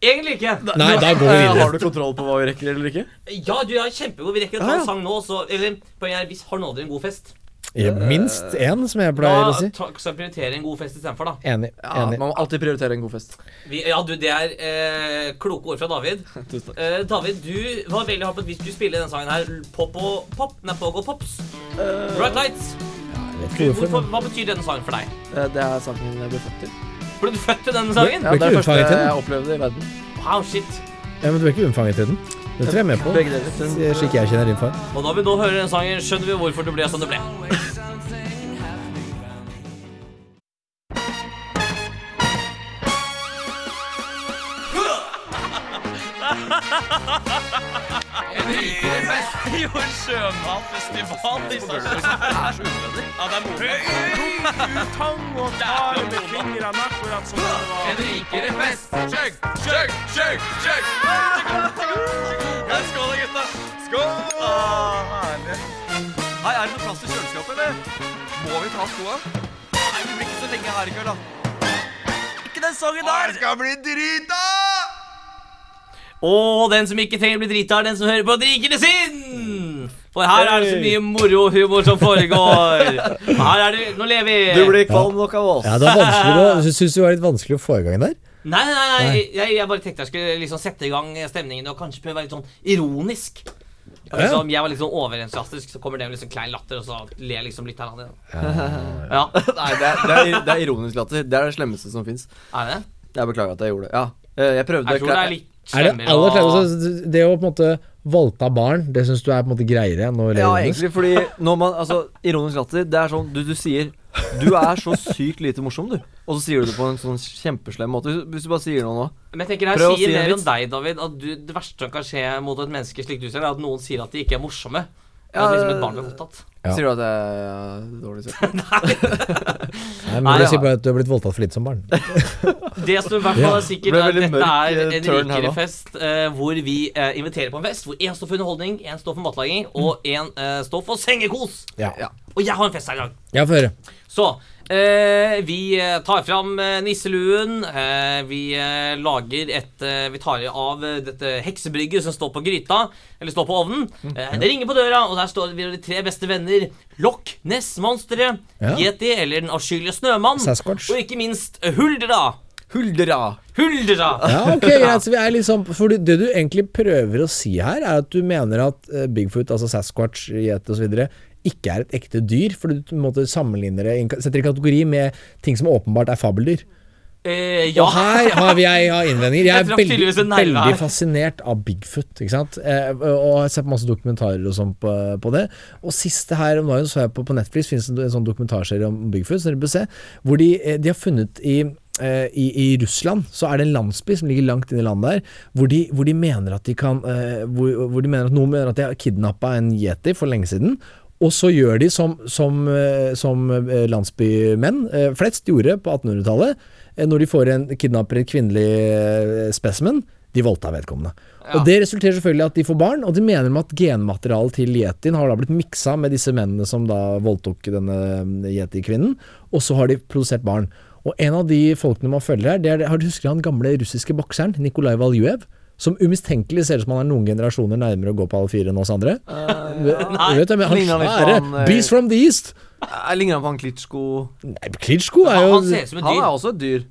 S2: Egentlig ikke.
S3: Nei, da går vi
S4: Eh,
S3: videre.
S4: Har du kontroll på hva vi rekker eller ikke?
S2: Ja, du er kjempegod. Vi rekker å ta
S4: Ja, ja.
S2: en sang nå, så Eller poenget er, hvis har nå dere en god fest,
S3: Ja, Minst én, som jeg pleier
S2: da
S3: å si.
S2: ta- skal vi prioritere en god fest istedenfor, da.
S3: Enig.
S4: Ja,
S3: enig.
S4: Man må alltid prioritere en god fest.
S2: Vi, ja, du, det er eh, kloke ord fra David.
S4: Tusen takk.
S2: Eh, David, du var veldig hard på at vi skulle spille denne sangen her. Pop og pop. Nei, Pog og Pops.
S4: Eh,
S2: Bright Lights.
S3: Jeg vet ikke
S2: Hvorfor,
S3: hvorfor, men
S2: hva betyr denne sangen for deg?
S4: Eh, Det er sangen jeg ble født til.
S2: Ble du født til denne sangen?
S4: Ja,
S3: Ble
S4: det er
S3: ikke
S4: det første
S3: unnfanget i den?
S4: jeg opplevde i verden.
S2: Wow, shit.
S3: Ja, men du er ikke unnfanget i den. Det tror jeg er med på.
S4: Begge deler. Den-
S3: Slik jeg kjenner din far.
S2: Og da vi nå hører denne sangen, skjønner vi hvorfor det ble som det ble.
S5: Hei, er det noe plass til kjøleskapet, eller? Må vi ta skoa? Nei, vi blir ikke så lenge her i kveld, da. Ikke den sangen der!
S2: Og den som ikke trenger å bli drita, er den som hører på Drikende sinn! For her er det så mye moro og humor som foregår. Og her er det Nå lever vi.
S4: Du blir kvalm nok av oss.
S3: Ja, det var vanskelig å, jeg synes det var litt vanskelig å få i gang der.
S2: Nei, nei, nei,
S3: Nei.
S2: Jeg, jeg bare tenkte jeg skulle liksom sette i gang stemningen og kanskje prøve å være litt sånn ironisk. Og
S3: Ja.
S2: Liksom, jeg var litt sånn overentusiastisk, så kommer det med liksom klein latter, og så ler liksom litt her. Ja. ja,
S4: Nei, det er, det, er, det er ironisk latter. Det er det slemmeste som fins.
S2: er det?
S4: Jeg beklager at jeg gjorde det. Ja, eh, jeg prøvde
S2: Jeg tror det
S4: kla-
S2: er litt
S3: Er det
S2: slemmere
S3: aller
S2: å-
S3: slemmeste Det å på en måte voldta barn, det syns du er på en måte greiere enn å le
S4: Ja,
S3: ironisk?
S4: egentlig, fordi når man Altså, ironisk latter, det er sånn du, du sier Du er så sykt lite morsom, du. Og så sier du det på en sånn kjempeslem måte. Hvis- Hvis du bare sier noe nå
S2: Men jeg tenker her
S4: Prøv å
S2: sier
S4: si en
S2: mer om
S4: vits.
S2: deg, David, at du, det verste som kan skje mot et menneske slik du ser, er at noen sier at de ikke er morsomme. Ja,
S4: Ja,
S2: liksom et barn blir voldtatt.
S3: Ja.
S4: Sier du at jeg er dårlig selv?
S3: Nei,
S2: Nei,
S3: men det
S2: ja.
S3: sier bare at du har blitt voldtatt for lite som barn.
S2: Det som i hvert fall er sikkert,
S4: Ble
S2: er at
S4: veldig
S2: dette
S4: mørk,
S2: er
S4: eh,
S2: en
S4: turn her
S2: rikere
S4: nå.
S2: fest eh, hvor vi eh, inviterer på en fest hvor én står for underholdning, én står for matlaging, og én eh, står for sengekos.
S3: Ja.
S4: Mm. Ja.
S2: Og jeg har en fest her i dag.
S3: Jeg får høre.
S2: Så eh, vi eh, tar fram eh, nisseluen. Eh, vi eh, lager et eh, Vi tar av eh, dette heksebrygget som står på gryta, eller står på ovnen.
S4: Mm.
S2: Eh, det ringer på døra, og der står vi de tre beste venner. Loch Ness-monsteret,
S3: Ja.
S2: Yeti eller Den avskyelige snømann,
S3: Sasquatch.
S2: og ikke minst Huldra.
S4: Huldra!
S2: Huldra!
S3: Ja, ok, greit, så vi er liksom For det du egentlig prøver å si her, er at du mener at eh, Bigfoot, altså Sasquatch, gjet osv., ikke er et ekte dyr, for du på en måte sammenligner det i en ka- Setter i kategori med ting som åpenbart er fabeldyr.
S2: Eh, ja.
S3: Og her har vi jeg har innvendinger. Jeg
S2: Jeg
S3: er
S2: traff
S3: veldig,
S2: tydeligvis en nerve
S3: veldig
S2: her.
S3: fascinert av Bigfoot. Ikke sant? Eh, og har sett masse dokumentarer og sånn på, på det. Og siste her om dagen så jeg på, på Netflix finnes en, en sånn dokumentarserie om Bigfoot, som dere bør se, hvor de, eh, de har funnet i eh, i, I Russland så er det en landsby som ligger langt inne i landet der, hvor de, hvor de mener at de kan eh, hvor, hvor de mener at noen mener at de har kidnappa en yeti for lenge siden, og så gjør de som, som, eh, som eh, landsbymenn eh, flest gjorde på 1800-tallet, eh, når de får en kidnapper et kvinnelig eh, specimen. de voldtar vedkommende. Og Det resulterer selvfølgelig i at de får barn, og de mener med at genmaterialet til yetien har da blitt miksa med disse mennene som da voldtok denne um, yeti-kvinnen, og så har de produsert barn. Og en av de folkene man følger her, det er, har du husker han gamle russiske bokseren Nikolai Valjuev? Som umistenkelig ser ut som han er noen generasjoner nærmere å gå på alle fire enn oss andre.
S4: Eh, nei,
S3: Vet du, men han
S4: ligner litt på
S3: svære
S4: han, eh,
S3: Beast from the East!
S4: Jeg ligner han på han Klitschko?
S3: Nei, Klitschko er jo
S2: Han ser ut som et
S4: Han
S2: dyr.
S4: er også et dyr.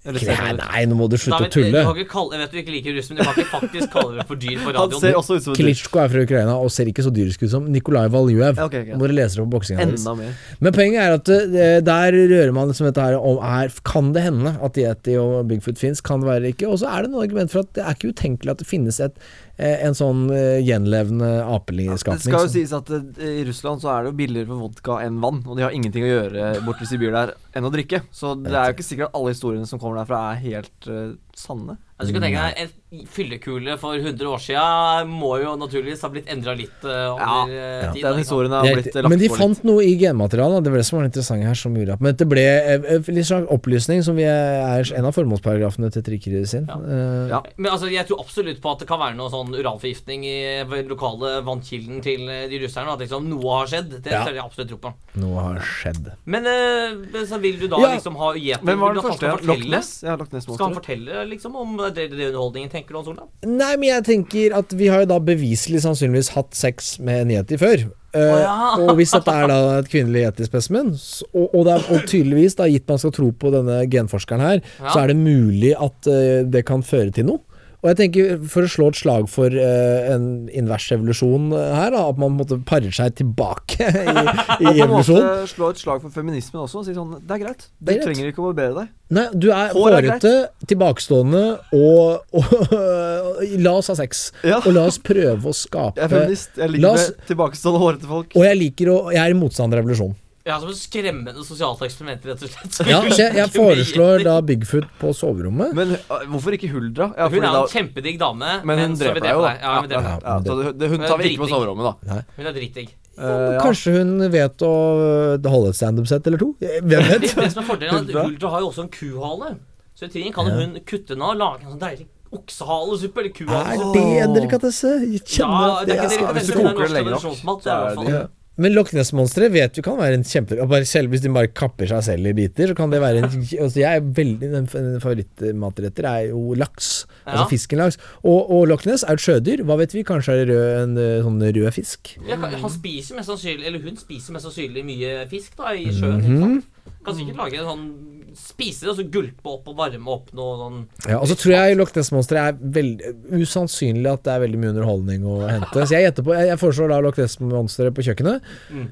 S4: Eller ser
S3: Nei,
S4: ut.
S3: nei, nå må du
S2: Nei,
S3: slutte
S2: men, eh,
S3: å
S2: Du
S3: tulle.
S2: kan ikke kalle, jeg vet du ikke liker russ, men du kan ikke faktisk kalle det for dyr på
S4: Han ser
S2: radioen.
S4: også ut som et dyr.
S3: Klitsjko er fra Ukraina og ser ikke så dyrisk ut som Nikolai Valjuev.
S4: Ja, ok, ok.
S3: Må dere lese det på boksingen hans.
S4: Enda mer.
S3: Men poenget er at eh, der rører man liksom dette her om er, Kan det hende at Yeti og Bigfoot fins? Kan det være ikke? Og så er det noen argument for at det er ikke utenkelig at det finnes et, eh, en sånn eh, gjenlevende
S4: Det
S3: apeliskapning.
S4: skal jo
S3: som-
S4: sies at eh, i Russland så er det jo billigere for vodka enn vann, og de har ingenting å gjøre borte i Sibir der enn å drikke. Så det er jo ikke sikkert at alle historiene som kommer derfra er helt eh, sanne.
S2: Altså, du kan tenke deg, En fyllekule for 100 år siden må jo naturligvis ha blitt endra litt eh,
S4: Ja,
S2: over eh, tid. da, ikke
S4: Den
S2: sant?
S4: historien har
S3: Det er
S4: blitt
S3: riktig.
S4: eh, lagt
S3: Men de
S4: på litt.
S3: fant noe i genmaterialet. da. Det var det som var det interessante her. Som gjorde at, men det ble eh, eh, litt sånn opplysning, som vi er, er en av formålsparagrafene til Trikkeriet sin.
S2: Ja.
S3: Eh,
S4: Ja.
S2: Men altså, Jeg tror absolutt på at det kan være noe sånn uranforgiftning i ved lokale vannkilden til eh, de russerne. At liksom noe har skjedd. Det
S3: Ja.
S2: tør jeg absolutt tro på.
S3: Noe har skjedd.
S2: Men eh, men så vil du da
S3: Ja.
S2: liksom ha yeti?
S4: Hvem
S2: Vil
S4: var den
S2: du at han
S4: første?
S2: skal
S4: Loch
S2: fortelle-
S4: Ness? Ja, Loch
S2: Skal han
S4: Ness-monsteret.
S2: fortelle liksom om det, det, det underholdningen tenker du om Sola?
S3: Nei, men jeg tenker at vi har jo da beviselig sannsynligvis hatt sex med en yeti før. Eh,
S2: ja.
S3: og hvis dette er da et kvinnelig yetispesimen, s- og, og, det er, og tydeligvis, da, gitt man skal tro på denne genforskeren her,
S2: Ja.
S3: så er det mulig at eh, det kan føre til noe. Og jeg tenker, for å slå et slag for eh, en invers evolusjon eh, her, da, at man måtte pare seg tilbake i, i
S4: Og på en måte
S3: evolusjon.
S4: slå et slag for feminismen også og si sånn Det er greit. Du
S3: Det er greit.
S4: trenger ikke å barbere deg.
S3: Nei, du er
S4: Hår er greit.
S3: hårete, tilbakestående og, og, La oss ha sex.
S4: Ja.
S3: Og la oss prøve å skape
S4: Jeg er feminist. Jeg
S3: Eh, La
S4: ligger
S3: oss-
S4: med tilbakestående, hårete folk.
S3: Og jeg liker å Jeg er motstander av revolusjon.
S2: Ja, som et skremmende sosialt eksperiment, rett og slett.
S3: Ja, så jeg, jeg foreslår da Bigfoot på soverommet.
S4: Men eh, hvorfor ikke Huldra? Ja,
S2: Hun
S4: fordi
S2: er
S4: da-
S2: en kjempedigg dame,
S4: men
S2: så
S4: hun
S2: vi
S4: dreper deg jo, da.
S2: deg. Ja, hun, dreper. deg.
S4: ja, så det, det, hun
S2: Men
S4: tar vi ikke på
S2: driting.
S4: soverommet, da.
S2: hun er dritdigg.
S4: Eh, ja.
S3: Kanskje hun vet å øh, holde et standup-sett eller to? Eh, Hvem
S2: Det,
S3: vet?
S2: det som er fordelen, er at Ultra har jo også en kuhale. Så i tiden kan jo hun kutte den av og lage en sånn deilig oksehalesuppe eller kuhale.
S3: Er det en delikatesse? Jeg kjenner
S2: Ja,
S3: at
S2: det
S3: det
S2: er ikke dere
S3: er
S4: skal-
S2: kan
S4: hvis du
S2: tenke dere
S4: koker det
S2: norsk
S4: lenge nok,
S2: tradisjonsmat,
S4: så
S2: det er i
S4: er
S2: hvert
S4: det-
S2: fall.
S3: ja. Men Loch Ness-monsteret vet vi kan være en kjempe... og Bare selv hvis de bare kapper seg selv i biter, så kan det være en altså jeg er veldig, En favorittmatretter er jo laks. Altså
S2: Ja.
S3: fiskenlaks. Og, og Loch Ness er et sjødyr. Hva vet vi? Kanskje er det rød, en øh, sånn rød fisk?
S2: Ja, kan- han spiser mest sannsynlig, eller hun spiser mest sannsynlig mye fisk da, i sjøen. ikke sant? Kan sikkert lage en sånn Spise det, og så gulpe opp og varme opp noe sånn
S3: Ja, og så tror jeg Loch Ness-monsteret er veldig usannsynlig at det er veldig mye underholdning å hente. Så jeg gjetter på, jeg, jeg foreslår da Loch Ness-monsteret på kjøkkenet.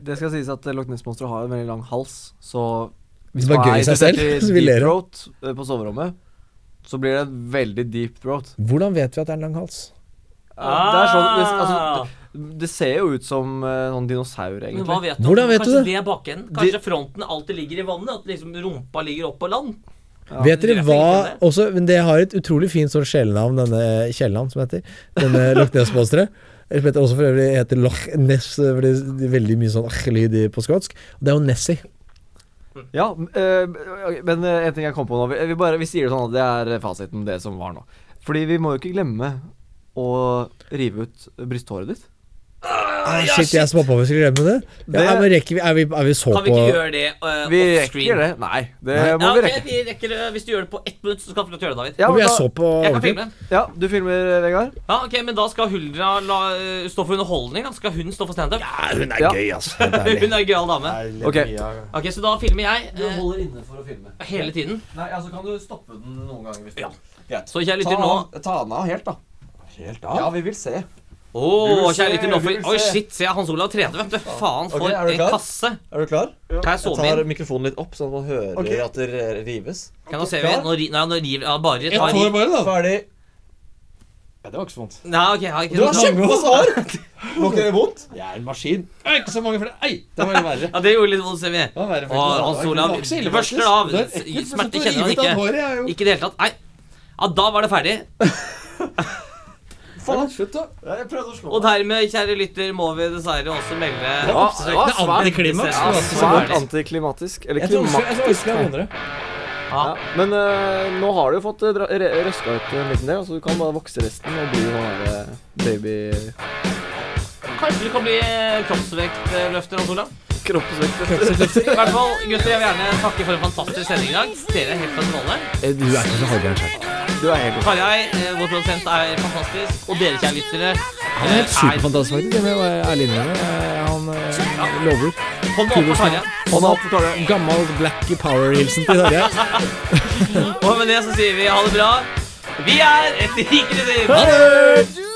S4: Det skal sies at eh, Loch Ness-monsteret har en veldig lang hals, så
S3: Det var
S4: man
S3: gøy i
S4: er
S3: seg selv,
S4: interessert
S3: så vi
S4: deep
S3: ler av
S4: throat eh, på soverommet, så blir det en veldig deep throat.
S3: Hvordan vet vi at det er en lang hals?
S4: Eh, Det er sånn det, altså, det, det ser jo ut som eh, sånn dinosaur,
S2: Ah. Men
S4: egentlig.
S2: hva vet du?
S3: Hvordan vet du
S2: Kanskje
S3: det?
S2: det er bakenden? Kanskje fronten alltid ligger i vannet? At liksom rumpa ligger opp på land?
S3: vet dere
S2: jeg
S3: hva
S2: tenkte det.
S3: også, men Det har et utrolig fint sånn sjelenavn, denne kjælenavn som heter. Denne Loch Ness-monsteret. Som heter også for øvrig heter Loch Ness, for det er veldig mye sånn lyd på skotsk. Og det er jo Nessie.
S4: Ja, m- eh, ok, men eh, en ting jeg kom på nå Vi, vi, bare, vi sier det sånn at det er eh, fasiten, det som var nå. Fordi vi må jo ikke glemme å rive ut brysthåret ditt.
S3: Ah, shit, jeg som oppover skulle glemme det.
S4: Det-
S3: Ja, men rekker vi, er, vi, er vi så
S2: Kan vi
S3: på
S2: ikke gjøre det uh,
S4: Vi
S2: off
S4: rekker
S2: screen?
S4: det. Nei, det
S3: Nei.
S2: Ja,
S4: må vi
S2: ok,
S4: rekke.
S2: vi rekker det. Hvis du gjør det på ett minutt, så skal du få lov til å gjøre det, David.
S4: Ja,
S3: Jo,
S4: men
S3: jeg
S4: da,
S3: så på
S2: Jeg kan
S3: overtid.
S2: filme.
S4: ja, du filmer, eh, Vegard?
S2: Ja, ok, Men da skal Huldra la, eh, stå for underholdning? Da. Skal hun stå for standup? Ja,
S3: Hun er
S4: Ja.
S3: gøy, altså. Helt ærlig.
S2: hun er en gøyal dame.
S4: Ok.
S2: Ok, Så da filmer jeg eh,
S5: holder inne for å filme.
S2: hele tiden.
S5: Nei, altså kan du stoppe den noen ganger hvis du
S2: Ja.
S5: vil.
S2: Så kjære
S5: Ta,
S2: lytter nå
S5: ta den av helt, da. Helt av? Ja, vi vil se.
S2: Å,
S5: vil se,
S2: kjære lytter nå
S5: vi
S2: for
S5: vil
S2: Oi,
S5: se.
S2: shit, se Hans Olav trente, vet du. Faen, for
S5: ok, er du
S2: en
S5: klar?
S2: kasse.
S5: Er du klar?
S2: Kan jeg zoome inn?
S5: mikrofonen litt opp, sånn at man hører at det rives.
S2: Kan nå se vi? Nå ri- Nei, nå river ja, Bare ta riv.
S5: bare, da. Ferdig. Ja, det var ikke så vondt.
S2: Nei, ok, jeg har ikke
S5: Du har kjempevondt hår! Var ikke det vondt? Jeg er en maskin. Jeg er ikke så mange flere. Ei, det var verre.
S2: Ja, det gjorde litt vondt, ser vi.
S5: var
S2: Å,
S5: verre, faktisk.
S2: Hans Olav
S5: Det var ikke så ille,
S2: børster
S5: faktisk.
S2: av.
S5: Det er ekkelt, men
S2: Smerte
S5: så
S2: kjenner han
S5: rivet av
S2: ikke.
S5: håret, jeg er jo-
S2: Ikke i det hele tatt. Nei. Ja, da var det ferdig.
S5: Faen, slutt, da. Jeg prøvde å slå
S2: Og dermed, kjære lytter, må vi dessverre også melde
S4: Ja, det var svært-
S2: Antiklimaks.
S4: svært antiklimatisk. Eller klimatisk.
S5: jeg skulle ha vondere.
S2: Ja.
S4: Men eh, nå har du jo fått eh, dra- re- røska ut en liten del, så du kan bare vokse resten og bli sånn her eh, baby
S2: Kanskje det kan bli eh, kroppsvektløfter, Hans Olav?
S4: kroppsvekt.
S2: I hvert fall, gutter, jeg vil gjerne takke for en fantastisk sending i dag. Dere er helt fenomenale.
S3: Eh, Du er ikke så halvgæren sjøl.
S4: Du er helt
S2: Tarjei, eh, vår produsent, er fantastisk. Og dere, kjære lyttere,
S3: Han er helt
S2: eh, er
S3: superfantastisk, faktisk. Jeg må være ærlig innrømme. Eh, Han eh, lover.
S2: Hånd opp for Tarjei.
S3: Han har gammel black power-hilsen til Tarjei.
S2: Og med det så sier vi ha det bra. Vi er et rikere sinn!
S3: Ha det!